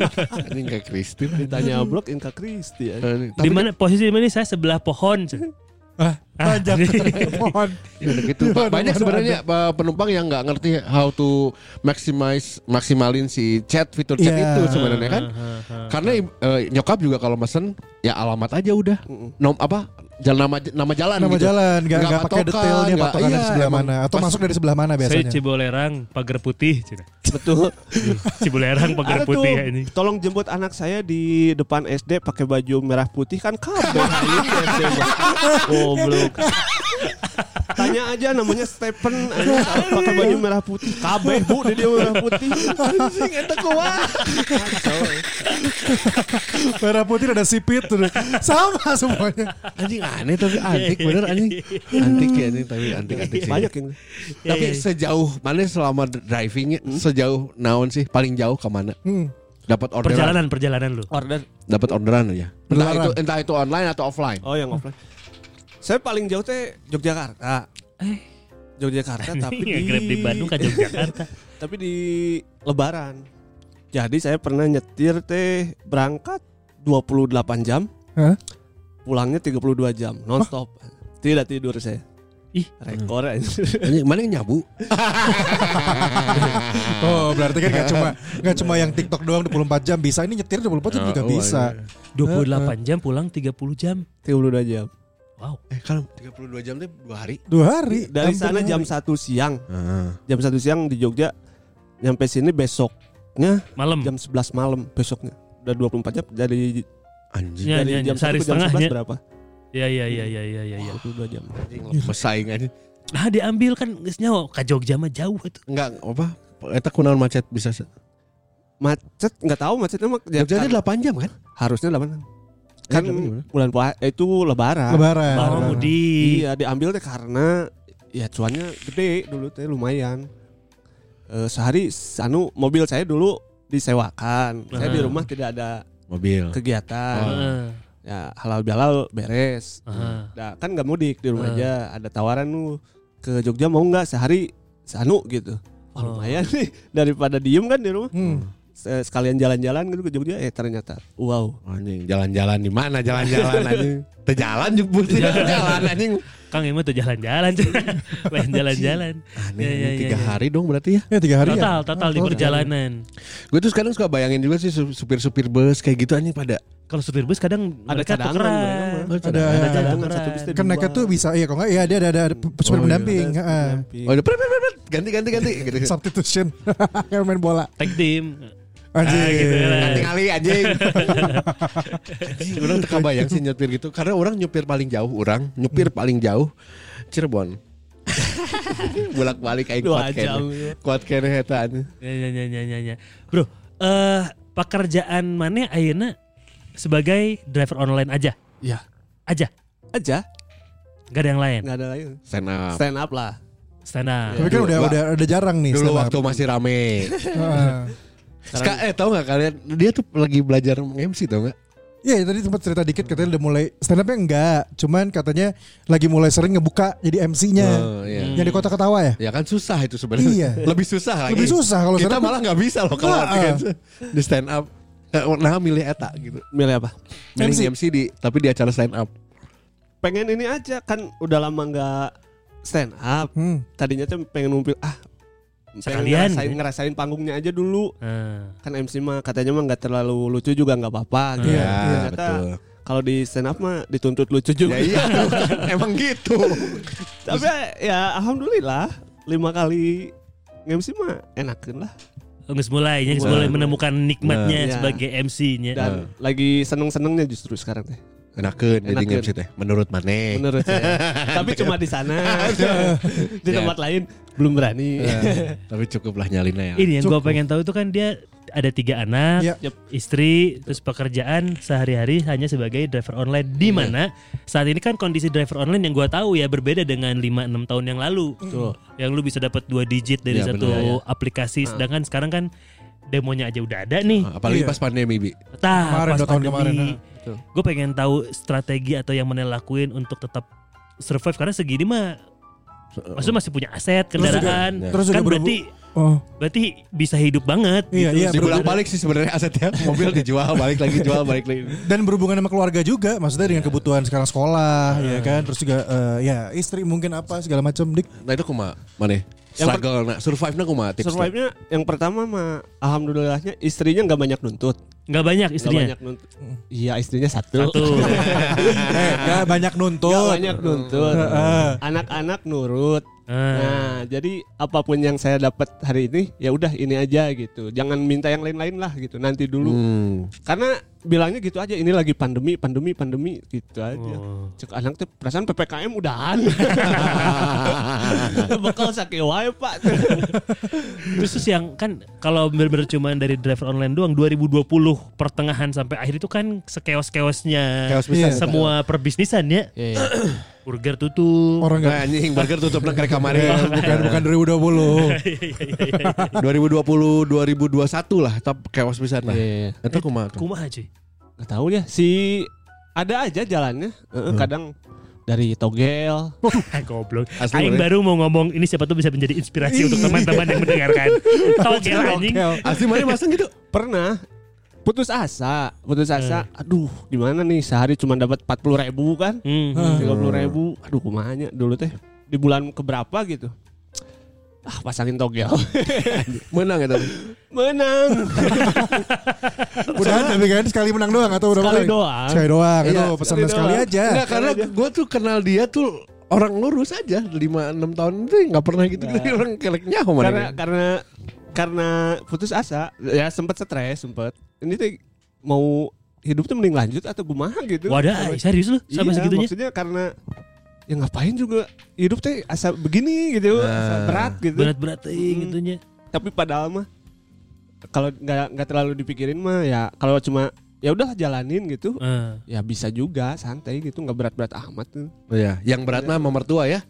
Ini kayak Kristin. ditanya blok Inka Kristi ya. Di mana posisi di mana ini? saya sebelah pohon. ah, Ah. Panjang dari pohon. gitu. Pak. Banyak sebenarnya uh, penumpang yang nggak ngerti how to maximize maksimalin si chat fitur chat Iya. itu sebenarnya kan. Karena uh, nyokap juga kalau mesen ya alamat aja udah. Nom apa? Jalan nama nama jalan Nama gitu. jalan nggak Nggak nggak pakai patokan, detailnya nggak- patokan dari iya, sebelah emang mana atau pas- masuk dari sebelah mana Saya biasanya. Cibolerang pagar putih. Cina. betul (laughs) Cibolerang ada pagar tuh putih ya ini. tolong jemput anak saya di depan SD (laughs) pakai Iya, baju merah putih kan kabeh aing di SD mah. goblok Tanya aja namanya Stephen anjing, salah pakai baju merah putih. Kabeh bu di dia merah putih. eh. Anjing eta kuat. Merah putih ada sipit (laughs) tuh. Sama semuanya. Anjing aneh tapi antik bener anjing. Antik ya anjing tapi antik antik sih. Banyak yang Tapi sejauh mana selama drivingnya sejauh naon sih paling jauh ke mana? Hmm. Dapat orderan. Perjalanan perjalanan lu. order. Dapat orderan ya. Entah Orderan. itu entah itu online atau offline. Oh yang offline. Saya paling jauh teh Yogyakarta. Eh. Yogyakarta tapi di Grab di Bandung ke (laughs) Yogyakarta. Tapi di Lebaran. Jadi saya pernah nyetir teh berangkat 28 jam, Hah? pulangnya 32 jam nonstop. Tidak tidur saya. Ih. hmm. rekor aja. (laughs) Anjing mana yang (laughs) nyabu? Oh berarti kan gak (laughs) cuma gak cuma yang TikTok doang 24 jam bisa ini nyetir 24 jam juga Oh, bisa. 28 jam pulang 30 jam. 32 jam. Wow. Eh kan 32 jam tuh 2 hari. Dua Eh, hari. Dari Hampir sana dua jam hari. 1 siang. Heeh. Jam 1 siang di Jogja. Nyampe sini besoknya Malam. jam 11 malam besoknya. Udah 24 jam dari Anjing. Iya. Ya, dari ya, jam ya, sehari 1 ke jam setengah, 11 ya. berapa? Iya, Ya ya ya ya ya ya. ya. 22 jam. Iya. Pesaing anjing. Nah diambil kan geus nyawa ke Jogja mah jauh atuh. Enggak apa Eta kunaon macet bisa se- Macet nggak tahu macetnya mah ya, Jogja kan, teh 8 jam kan? harusnya 8 Eh, kan tapi gimana? bulan puasa eh, itu lebaran. Lebaran. Oh, Lebaran. Budi. Iya, diambil teh karena ya cuannya gede dulu teh lumayan. Eh, sehari anu mobil saya dulu disewakan. Saya di Ah. rumah tidak ada Mobil. kegiatan. Heeh. ya halal bihalal beres. Heeh. Nah, kan nggak mudik di Ah. rumah aja. Ada tawaran lu ke Jogja mau nggak sehari sanu gitu. Wah, Oh. lumayan nih daripada diem kan di rumah. Hmm. Se- Sekalian jalan-jalan gitu ke Jogja eh ternyata wow. Anjing jalan-jalan di mana (laughs) jalan-jalan anjing. Teu jalan jeung putih Iya. jalan anjing. Kang Ima tuh jalan-jalan. (laughs) Lain jalan-jalan. Iya, Aneh Ya, ya, anjing, ya, tiga ya. hari dong berarti ya. Ya tiga hari Total ya. total di Oh, perjalanan. Gue tuh kadang suka bayangin juga sih su- supir-supir bus kayak gitu anjing pada Kalau supir bus kadang Ada mereka cadangan, tukeran. mereka mah. Oh, Ada ada- ada cadangan. satu bis teh kan dua. mereka tuh bisa iya kok nggak iya dia ada ada, ada super Oh, iya. pendamping Ada heeh. pendamping. Oh, ada pret, pret, pret, pret. ganti ganti ganti gitu. (laughs) substitution kayak main bola Tag team. anjing Ah, gitu lah. Ganti kali anjing. Anjing, (laughs) orang teka bayang sih nyupir gitu karena orang nyupir paling jauh orang nyupir paling jauh (laughs) Cirebon. Bolak-balik aing Dua kuat jam. ya. kene. Kuat kene eta anjing. Ya ya ya ya ya. ya. Bro, eh pekerjaan mana ayeuna sebagai driver online aja? Ya. Aja. Aja Gak ada yang lain. nggak ada lain. Stand up. Stand up lah. Stand up. tapi kan Dulu, udah Pak. udah udah jarang nih Dulu stand up. waktu masih rame. Heeh. Sekarang, eh tahu nggak kalian dia tuh lagi belajar MC tau nggak? Iya tadi sempat cerita dikit katanya udah mulai stand upnya enggak cuman katanya lagi mulai sering ngebuka jadi MC-nya Oh, iya. yang di kota ketawa ya Ya kan susah itu sebenarnya. Iya. Lebih susah lagi. Lebih susah kalau kita stand up. malah nggak bisa loh kalau Nah, latihan di stand up. Eh, Nah milih eta gitu. Milih apa? Milih MC. MC, di tapi di acara stand up. Pengen ini aja kan udah lama nggak stand up. hmm. Tadinya tuh pengen ngumpil ah pengen Sekalian. ngerasain, ngerasain panggungnya aja dulu Ah. kan MC mah katanya mah nggak terlalu lucu juga nggak apa-apa gitu. Iya, iya. Ternyata kalau di stand up mah dituntut Ya lucu juga. iya tuh kan. (laughs) emang gitu. (laughs) Tapi ya alhamdulillah lima kali MC mah enakin lah Nggak mulainya, nggak Nah. mulai menemukan nikmatnya Nah. sebagai MC-nya. dan lagi seneng-senengnya justru sekarang teh. Enakeun jadi Enakeun. MC teh menurut Mane. Menurut saya. Tapi cuma di sana. di tempat lain belum berani. ya. (laughs) Iya. tapi cukuplah nyalina ya. Ini yang gue pengen tahu itu kan dia ada tiga anak, Iya. Yep. istri, terus pekerjaan sehari-hari hanya sebagai driver online. Di mana saat ini kan kondisi driver online yang gue tahu ya berbeda dengan 5-6 tahun yang lalu. Yang lu bisa dapat dua digit dari Iya, satu benar, aplikasi, sedangkan sekarang kan demonya aja udah ada nih. Ah, Apalagi Iya. pas pandemi bi. Tah, Kemarin, pas dua tahun kemarin, pandemi. nah. Gue pengen tahu strategi atau yang mana lakuin untuk tetap survive karena segini mah maksudnya masih punya aset juga- kendaraan terus juga kan berhubung- berarti oh berarti bisa hidup banget iya gitu. iya Dibolak berhubung- balik sih sebenarnya asetnya mobil dijual balik lagi jual balik lagi. dan berhubungan sama keluarga juga maksudnya Iya. dengan kebutuhan sekarang sekolah ya kan terus juga eh, ya istri mungkin apa segala macam (laughs) dik Nah itu kuma mana? Yang per- Struggle na, survive na kuma tips. na? Survive-nya yang pertama mah alhamdulillahnya istrinya nggak banyak nuntut. nggak banyak Nggak istrinya banyak nuntut. Iya, istrinya satu. satu eh, gak banyak Nggak nuntut Iya. banyak nuntut. Heeh. Anak-anak nurut. Ah, Nah, jadi apapun yang saya dapat hari ini, ya udah ini aja gitu. Jangan minta yang lain-lain lah gitu. Nanti dulu. Hmm. Karena bilangnya gitu aja ini lagi pandemi pandemi pandemi gitu aja Oh. cek anak tuh perasaan ppkm udahan (laughs) bekal sakit wae pak Terus terus yang kan kalau bener-bener cuma dari driver online doang 2020 pertengahan sampai akhir itu kan sekeos-keosnya Iya. Chaos bisnis. semua perbisnisan ya. Iya, iya. (clears throat) Burger tutup. Orang nggak Nah, anjing burger tutup nek kemarin. Oh, (laughs) bukan bukan (laughs) (laughs) (laughs) 2020. Iya, 2020 iya, iya, iya. 2021 lah top kewas pisan lah. Iya, iya. Nah, Itu kumaha? tuh? Kumaha cuy. nggak tahu ya si ada aja jalannya Heeh, kadang dari togel Ah, goblok. Asli Aing bener. baru mau ngomong ini siapa tuh bisa menjadi inspirasi untuk teman-teman yang mendengarkan. Togel anjing. Asli mana masang gitu? pernah putus asa putus asa aduh gimana nih sehari cuma dapat 40.000 ribu kan Hmm. tiga puluh ribu aduh kumanya dulu teh di bulan keberapa gitu ah pasangin togel (laughs) Menang ya, itu. menang Udah tapi kan sekali menang doang atau udah sekali menang? doang Sekali doang. Iya, Itu pesan sekali sekali doang. aja. (laughs) Enggak karena gue tuh kenal dia tuh orang lurus aja 5 6 tahun itu nggak pernah gitu gitu (laughs) orang kelek nyaho mana. karena karena karena putus asa ya sempet stres sempet ini teh mau hidup tuh mending lanjut atau gumaha gitu Wadah, serius lu Iya, sampai segitunya? maksudnya karena ya ngapain juga hidup teh asa begini gitu asa berat gitu Berat-berat eh, gitunya. tapi padahal mah kalau nggak nggak terlalu dipikirin mah ya kalau cuma ya udah jalanin gitu Eh. ya bisa juga santai gitu nggak berat-berat amat tuh Iya, yang berat mah mertua ya.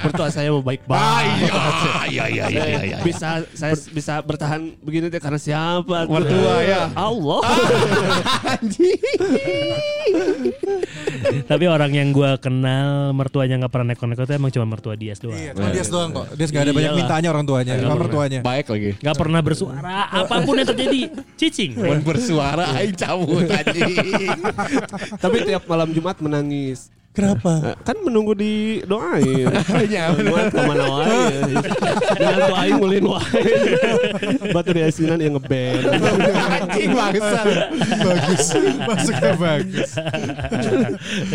mertua saya mau baik Ah, baik (laughs) iya iya iya iya iya. bisa saya bisa bertahan begini deh karena siapa tuh? Mertua, ya. (laughs) Allah Tapi orang yang gua kenal mertuanya nggak pernah neko-neko itu emang cuma mertua Dias doang. Iya, cuma dia doang kok. Dia nggak ada banyak Iyalah. mintanya orang Iya, tuanya, sama mertuanya. Baik lagi. Gak pernah (laughs) bersuara apapun yang terjadi cicing. Iya. Cuman bersuara aing cabut (laughs) anjing. tapi tiap malam Jumat menangis (laughs) Kenapa? Eh, kan menunggu di doain Hanya Jumat kemana wae dengan tuh aing ngulin wae batu di asinan yang ngeband anjing bangsa. bagus. Masuknya bagus.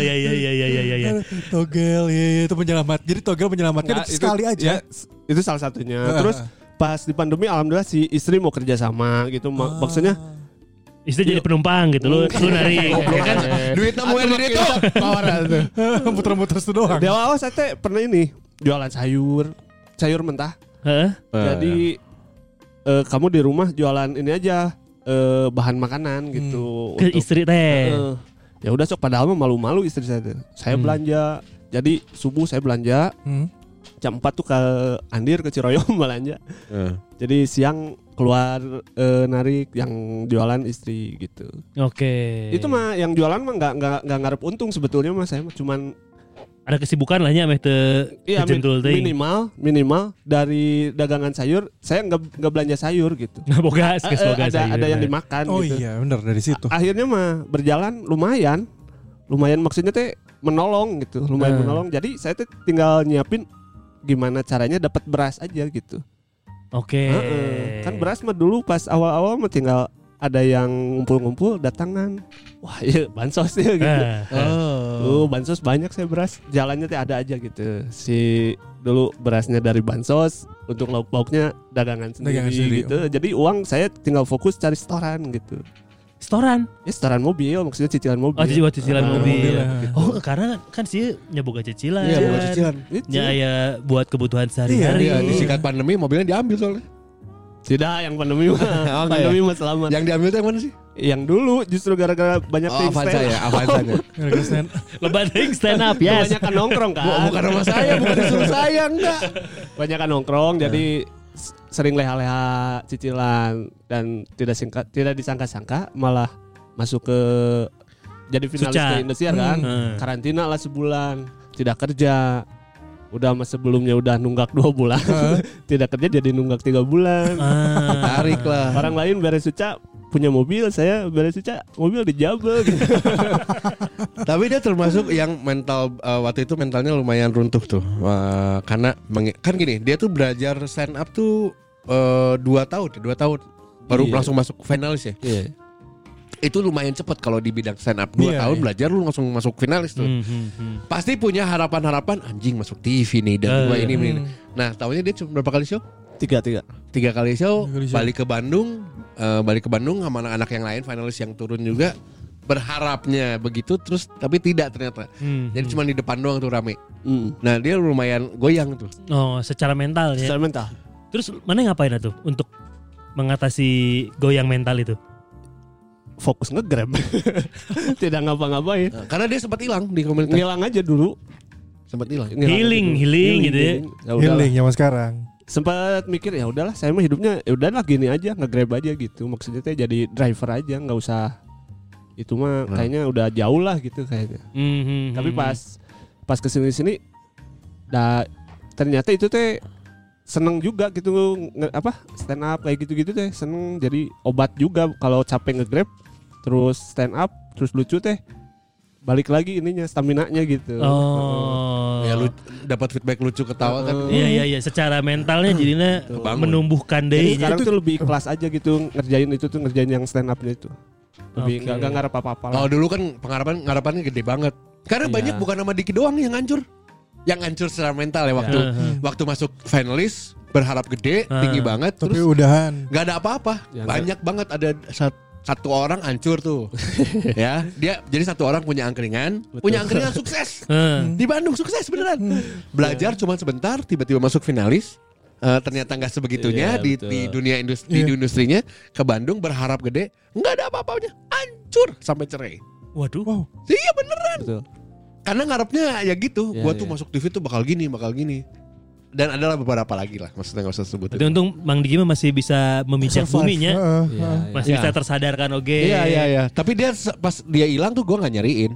Iya iya iya iya iya iya. Togel, iya, iya, itu penyelamat. Jadi togel menyelamatkan Nggak, itu- sekali ya, aja. s- itu salah satunya Ah. terus pas di pandemi alhamdulillah si istri mau kerja sama gitu Ma- maksudnya Istri Iya. jadi penumpang gitu lu lu nari. Goblok kan duitnya mau di itu. (laughs) Muter-muter itu doang. di awal saya teh pernah ini jualan sayur sayur mentah Heeh. Eh, Jadi eh, kamu di rumah jualan ini aja eh, bahan makanan gitu. Ke untuk- istri teh. Eh, ya udah sok padahal mah malu-malu istri saya. tuh. Saya Hmm. belanja. Jadi subuh saya belanja Hmm. jam 4 tuh ke Andir ke Ciroyom (laughs) belanja. eh, Jadi siang keluar eh, narik yang jualan istri gitu. Oke. Itu iya. mah yang jualan mah nggak nggak nggak ngarep untung sebetulnya mah saya mah cuman ada kesibukan lah nya meh teu Iya, teu min- jentul teuing. minimal minimal dari dagangan sayur saya nggak nggak belanja sayur gitu. Nah, bogas, geus Eh, bogas ada aja. ada yang dimakan Oh gitu. iya, benar dari situ. Akhirnya mah berjalan lumayan. Lumayan maksudnya teh menolong gitu, lumayan Hmm. menolong. Jadi saya teh tinggal nyiapin gimana caranya dapat beras aja gitu. Oke. Heeh. Kan beras mah dulu pas awal-awal mah tinggal ada yang ngumpul-ngumpul datangan. Wah, iya bansos ya gitu. Eh, eh. Oh. Tuh bansos banyak saya beras. Jalannya teh ada aja gitu. Si dulu berasnya dari bansos untuk lauk pauknya dagangan sendiri, Dagangan sendiri. oh. gitu. Jadi uang saya tinggal fokus cari setoran gitu. Storan. Ya setoran mobil maksudnya cicilan Oh, mobil. jadi buat cicilan Ah, mobil. mobil. Oh, karena kan sih nyaboga cicilan. Iya, boga cicilan. Itu. Ya, ya buat kebutuhan sehari-hari. Iya, disikat pandemi mobilnya diambil soalnya. Tidak yang (laughs) pandemi mah. Oh, enggak iya. pandemi mah selamat. Ya. Yang, Yang diambil tuh yang mana sih? dulu justru gara-gara banyak Oh, Avanza ya, Avanza-nya. (laughs) Lebat aing (laughs) stand up, yes. Banyak nongkrong kan. Bu- bukan rumah saya, bukan (laughs) disuruh saya enggak. Banyak nongkrong jadi s- sering leha-leha cicilan dan tidak singkat tidak disangka-sangka malah masuk ke jadi finalis Suca. ke Indosiar kan. Hmm. Karantina lah sebulan, tidak kerja. Udah mas sebelumnya udah nunggak dua bulan, (laughs) tidak kerja jadi nunggak tiga bulan. Ah. Tarik lah. Orang lain beres suca punya mobil, saya beres suca mobil di Jabel. Tapi dia termasuk yang mental eh, waktu itu mentalnya lumayan runtuh tuh. Eh, karena menge- kan gini, dia tuh belajar stand up tuh 2 tahun, 2 tahun baru Iya. langsung masuk finalis ya. Iya. Itu lumayan cepet kalau di bidang stand up 2 Iya, tahun iya. belajar lu langsung masuk finalis tuh. Hmm, hmm, hmm. Pasti punya harapan-harapan anjing masuk TV nih dan Eh, gua ini, iya. ini. Nah, tahunnya dia cuma berapa kali show? Tiga tiga. Tiga kali show, Tiga kali show. balik ke Bandung eh, balik ke Bandung sama anak-anak yang lain finalis yang turun juga berharapnya begitu terus tapi tidak ternyata. Hmm. Jadi cuma di depan doang tuh rame. Hmm. Nah dia lumayan goyang tuh. Oh, secara mental ya. Secara mental. Terus mana ngapain tuh untuk mengatasi goyang mental itu? Fokus (laughs) ngegrab. Tidak ngapa-ngapain. Nah, karena dia sempat hilang di komunitas. Ngilang aja dulu. Sempat hilang. Ngilang aja Healing, dulu. healing gitu ya. Ya udahlah. Healing zaman sekarang. Sempat mikir ya udahlah, saya mah hidupnya ya udahlah gini aja, ngegrab aja gitu. Maksudnya teh jadi driver aja, nggak usah itu mah Nah. kayaknya udah jauh lah gitu kayaknya. Hmm, Mhm. Tapi pas pas kesini sini, nah ternyata itu teh seneng juga gitu nge- apa stand up kayak gitu-gitu teh seneng jadi obat juga kalau capek ngegrab terus stand up terus lucu teh balik lagi ininya stamina nya gitu. Oh. Ya lu dapat feedback lucu ketawa kan. Iya iya iya, secara mentalnya Hmm. jadinya Kebangun. menumbuhkan deh. Jadi sekarang tuh lebih kelas aja gitu ngerjain itu tuh ngerjain yang stand up-nya itu. Oke. Lebih enggak enggak ngarep apa-apa lah. Kalau dulu kan pengharapan harapannya gede banget. Karena Iya. banyak bukan nama Diki doang yang hancur. Yang hancur secara mental ya waktu Heeh. waktu masuk finalis berharap gede, Ah. tinggi banget Tapi terus udahan. nggak ada apa-apa. Ya, banyak banget ada sat- satu orang hancur tuh. ya, dia jadi satu orang punya angkringan, punya angkringan sukses. (laughs) Heeh. Hmm. Di Bandung sukses beneran. Belajar cuma sebentar, tiba-tiba masuk finalis. Eh, ternyata nggak sebegitunya Iya, di, betul. Iya. di dunia industri di industrinya ke Bandung berharap gede nggak ada apa-apanya hancur sampai cerai Waduh. iya beneran Betul. karena ngarepnya ya gitu Iya, gua tuh iya. masuk TV tuh bakal gini bakal gini dan adalah beberapa lagi lah maksudnya nggak usah sebutin Berarti untung Bang Digi mah masih bisa memijak buminya. Heeh, Iya, heeh. iya. Masih Iya. bisa tersadarkan oke. Iya iya iya. Tapi dia se- pas dia hilang tuh gua nggak nyariin.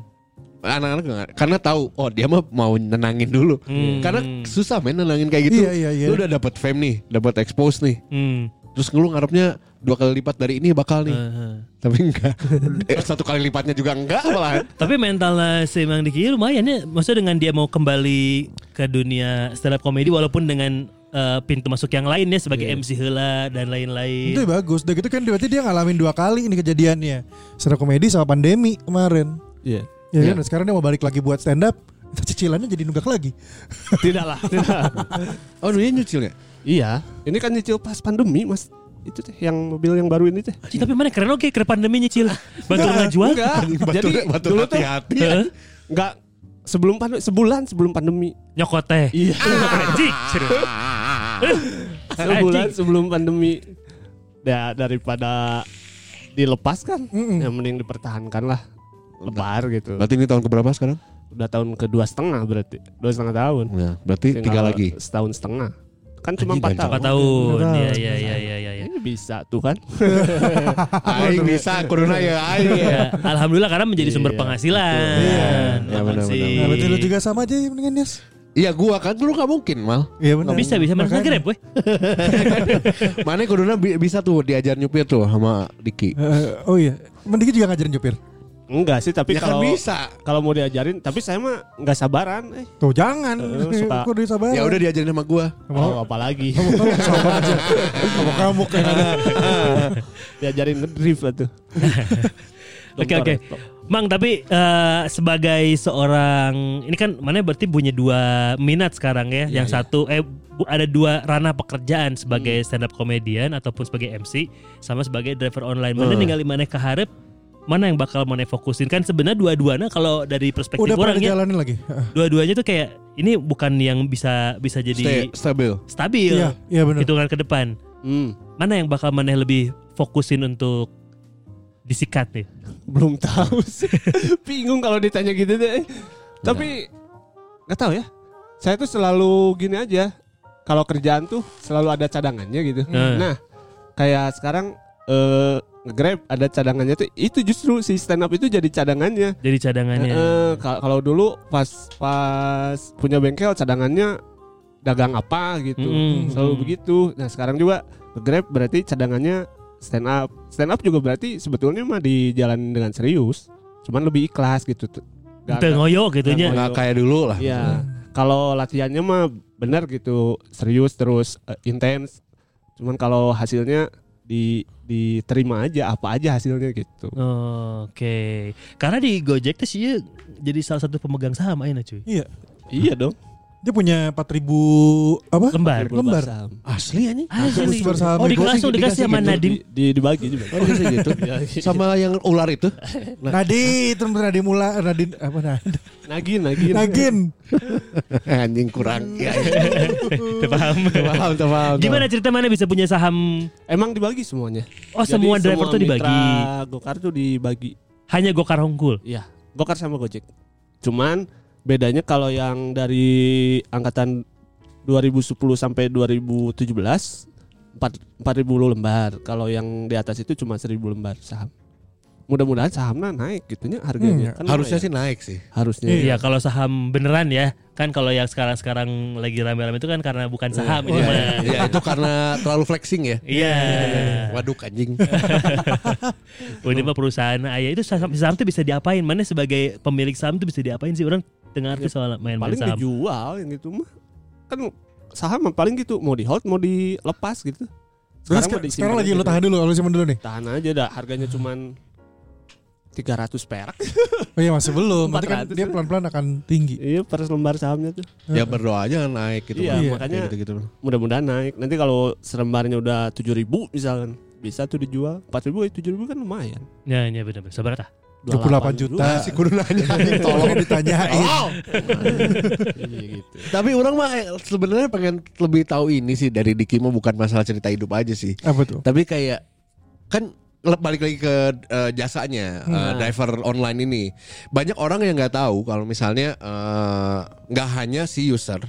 Anak-anak gak, karena tahu oh dia mah mau nenangin dulu. Hmm. Karena susah main nenangin kayak gitu. Iya, iya, iya. Lu udah dapat fame nih, dapat expose nih. Hmm. Terus lu ngarepnya dua kali lipat dari ini bakal nih. Hmm. Heeh. Tapi enggak. (laughs) Eh, satu kali lipatnya juga enggak malah. Tapi mentalnya si Mang Diki lumayan ya. Maksudnya dengan dia mau kembali ke dunia stand up comedy walaupun dengan eh, pintu masuk yang lain ya sebagai Iya. MC Hela dan Itu lain-lain. bagus. Udah gitu kan berarti dia ngalamin dua kali ini kejadiannya. Secara komedi sama pandemi kemarin. Iya. Ya kan? Dan sekarang dia mau balik lagi buat stand up. (laughs) Cicilannya jadi nunggak lagi. Tidak lah, tidak. Oh dia nyucilnya. iya. Ini kan nyicil pas pandemi, Mas. Itu teh yang mobil yang baru ini teh. Cih, tapi mana keren oke ke pandemi nyicil. Batur ngejual. Enggak. Jadi batu dulu tuh iya. hati-hati. Heeh. enggak sebelum pandemi, sebulan sebelum pandemi. Nyokot teh. Iya. Anjing. serius. (laughs) sebulan Anjing. sebelum pandemi. Ya daripada dilepaskan, yang mending dipertahankan lah. Lebar gitu. (laughs) Berarti ini tahun keberapa sekarang? Udah tahun kedua setengah berarti. Dua setengah tahun. Ya, berarti tiga Tinggal (laughs) lagi. Setahun setengah. Kan Anjing, cuma empat ganjil. tahun. Empat tahun. Iya iya iya iya iya. Ini bisa tuh kan. Aing bisa kuruna ya (laughs) aing. Ya, Alhamdulillah karena menjadi sumber Iya, penghasilan. betul. Iya. Ya, Apaan benar, sih? Nah, berarti lu juga sama aja mendingan Yes. Iya gua kan lu nggak mungkin mal. Iya benar. bisa bisa mana Makanya. ngegrab weh. (laughs) Mana kuduna bi- bisa tuh diajar nyupir tuh sama Diki. Heeh, oh iya, mendingan juga ngajarin nyopir. (laughs) Enggak sih, tapi Ya kan kalau bisa. kalau mau diajarin, tapi saya mah nggak sabaran. Eh, Tuh jangan. Eh, (laughs) suka. Kudu sabar. Ya udah diajarin sama gua. mau apalagi sama aja. Kamu kamu kan ada. (laughs) diajarin ngedrift lah tuh. Oke oke. Mang tapi eh, sebagai seorang ini kan mana berarti punya dua minat sekarang ya. Iya, yang satu eh bu- ada dua ranah pekerjaan Hmm. sebagai stand up komedian ataupun sebagai MC sama sebagai driver online. Eh. Mana tinggal mana keharap mana yang bakal mana fokusin kan sebenarnya dua-duanya kalau dari perspektif Udah pernah orang ya dijalanin lagi. Heeh. dua-duanya tuh kayak ini bukan yang bisa bisa jadi Stay, stabil. stabil Iya, iya benar. hitungan ke depan. Hmm, Mana yang bakal mana lebih fokusin untuk disikat nih? belum tahu sih. Bingung kalau ditanya gitu deh. Tapi nggak tahu ya. Saya tuh selalu gini aja. Kalau kerjaan tuh selalu ada cadangannya gitu. Hmm. Nah, kayak sekarang eh Grab ada cadangannya tuh itu justru si stand up itu jadi cadangannya. Jadi cadangannya. Eh, Heeh, ka- kalau dulu pas pas punya bengkel cadangannya dagang apa gitu. Mm-mm. Selalu Mm. begitu. Nah, sekarang juga Grab berarti cadangannya stand up. Stand up juga berarti sebetulnya mah dijalan dengan serius, cuman lebih ikhlas gitu. T- Gak- Teu ngoyo gitunya. Teu ngoyo. Nggak kayak dulu Ah, lah. Iya. Kalau latihannya mah benar gitu, serius terus eh, intens. Cuman kalau hasilnya di diterima aja apa aja hasilnya gitu. Oh, Oke, ya, karena di Gojek tuh sih jadi salah satu pemegang saham aja cuy. Iya. Iya dong. Dia punya 4000 apa? Lembar. Lembar. Asli anjing. Asli. Terus bersama Oh, di Migos langsung dikasih sama Nadiem. Di, di- dibagi juga. Ya, Oh, bisa (laughs) gitu. Sama yang ular itu. (laughs) Nadi, Nah, terus Nadi mula, Nadi apa Nadi? Nagin, nagin. Nagin. anjing kurang. Ya, ya. Paham. Paham, paham, paham. Gimana cerita mana bisa punya saham? Emang dibagi semuanya. Oh, Jadi semua driver semua tuh dibagi. mitra Gokar tuh dibagi. Hanya Gokar Hongkul. Iya, Gokar sama Gojek. Cuman bedanya kalau yang dari angkatan 2010 sampai 2017 4 4000 lembar. Kalau yang di atas itu cuma 1000 lembar saham. Mudah-mudahan sahamnya naik gitunya harganya. Hmm, Kan Harusnya lumayan. sih naik sih. harusnya. ya. Iya, kalau saham beneran ya. Kan kalau yang sekarang-sekarang lagi rame-rame itu kan karena bukan saham Iya. ini mah. Ya itu karena terlalu flexing ya. Iya. Waduh anjing. Oh, ini mah perusahaan ayah itu saham, saham tuh bisa diapain? Mana sebagai pemilik saham tuh bisa diapain sih orang dengar tuh soal main-main Paling saham. dijual yang gitu mah. Kan saham mah paling gitu mau di hold mau dilepas gitu. Terus mau sekarang, disimpan sekarang lagi aja lo dulu. tahan dulu, lo simpen dulu nih. Tahan aja dah harganya cuman 300 perak. (laughs) Oh iya masih belum. Nanti kan 400. dia pelan-pelan akan tinggi. Iya, per lembar sahamnya tuh. Ya berdoanya naik gitu. Iya, Iya, makanya- gitu-gitu. mudah-mudahan naik nanti kalau serembarnya udah tujuh ribu misalkan bisa tuh dijual empat ribu tujuh ribu kan lumayan Ya, ya benar-benar. Sabar tah. 28 juta. Ah, Si kudu nanya anjing Tolong tolong. ditanyain. (laughs) Iya gitu Tapi orang mah eh, sebenarnya pengen lebih tahu ini sih dari Diki mah bukan masalah cerita hidup aja sih. Apa tuh? Tapi kayak kan le- balik lagi ke eh, jasanya eh, driver online ini. Banyak orang yang nggak tahu kalau misalnya eh, nggak hanya si user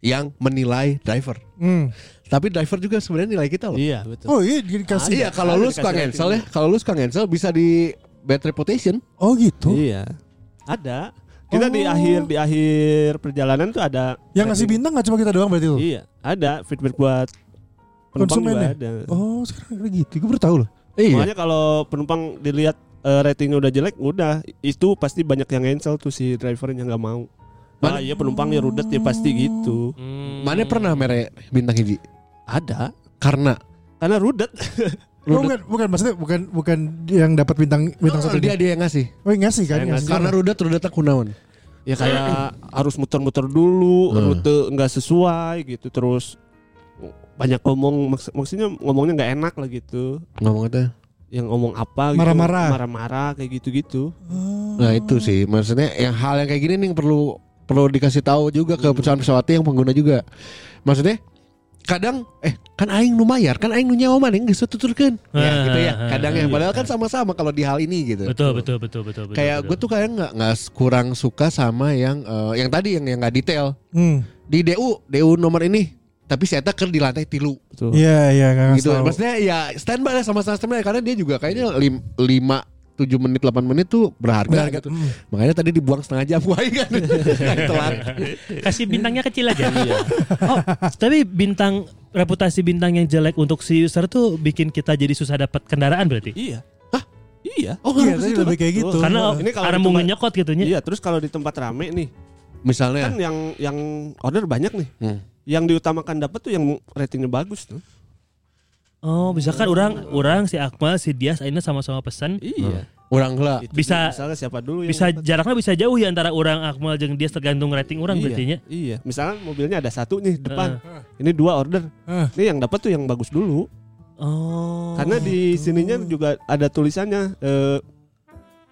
yang menilai driver, Hmm. tapi driver juga sebenarnya nilai kita loh. iya betul Oh iya dikasih. Iya, kalau lu Dikasih suka rating cancel ya, dulu. kalau lu suka cancel bisa di bad reputation. Oh gitu. iya ada Oh. kita di akhir di akhir perjalanan tuh ada Yang ngasih bintang nggak cuma kita doang berarti lo? iya ada feedback buat penumpang Konsumen juga ya? ada Oh sekarang kayak gitu. Gue baru tahu loh. iya. makanya kalau penumpang dilihat eh, ratingnya udah jelek udah itu pasti banyak yang cancel tuh si drivernya nggak mau Mana- Ah, iya penumpang ya rudet ya pasti gitu Mana pernah mere bintang hiji? ada Karena karena rudet Oh, bukan, bukan maksudnya bukan bukan yang dapat bintang bintang satu dia dia. dia yang ngasih. Oh yang ngasih kan? Saya Ngasih. Karena rudet rudet tak kunaon. ya kayak (clears throat) harus muter-muter dulu rute nggak sesuai gitu terus banyak ngomong maks- maksudnya ngomongnya nggak enak lah gitu Ngomong itu. yang ngomong apa gitu, Marah-marah. marah-marah kayak gitu-gitu Nah itu sih maksudnya yang hal yang kayak gini nih yang perlu perlu dikasih tahu juga ke pesawat-pesawatnya yang pengguna juga. Maksudnya kadang eh kan aing nu mayar kan aing nu nyawa mana geus tuturkeun. Ya Ah, gitu ya. ah, Kadang ya padahal kan sama-sama kalau di hal ini gitu. Betul, betul, betul, betul, betul. Kayak gue betul. tuh kayak nggak nggak kurang suka sama yang eh, yang tadi yang yang nggak detail Hmm. di DU DU nomor ini tapi saya taker di lantai tilu betul Iya iya nggak ngasih gitu tahu. maksudnya ya standby lah sama standby karena dia juga kayaknya lim, lima tujuh menit 8 menit tuh berharga, Benar, gitu. hmm. Makanya tadi dibuang setengah jam (laughs) gua kan. Telat. Kasih bintangnya kecil aja. (laughs) Iya. oh, tapi bintang reputasi bintang yang jelek untuk si user tuh bikin kita jadi susah dapat kendaraan berarti. iya Hah? iya Oh, Iya tadi lebih kayak gitu. Karena Ini kalau karena di mau tempat- nyokot gitu gitunya. iya terus kalau di tempat rame nih kan Misalnya Iya. yang yang order banyak nih Hmm. yang diutamakan dapat tuh yang ratingnya bagus tuh Oh, misalkan orang orang si Akmal si Dias akhirnya sama-sama pesan iya orang heula. Itu Bisa- dia, misalnya siapa dulu yang bisa dapat. jaraknya bisa jauh ya antara orang Akmal jeung Dias tergantung rating orang iya, berarti ya. nya. iya misalnya mobilnya ada satu nih depan ini dua order Heeh. ini yang dapat tuh yang bagus dulu Oh. Karena di gitu. sininya juga ada tulisannya eh,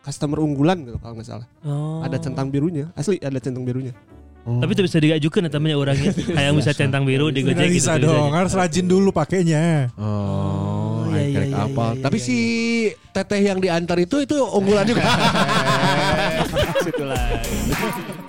customer unggulan gitu kalau nggak salah. Oh. Ada centang birunya, asli ada centang birunya. Tapi itu bisa diajukan ya temennya (laughs) orangnya. Kayak bisa centang biru di Nggak Gojek gitu. bisa dong. Harus rajin dulu pakainya. Oh, iya, aing iya, kerek iya, apal. iya, Tapi iya, si (laughs) teteh yang diantar itu itu unggulan juga. Situlah.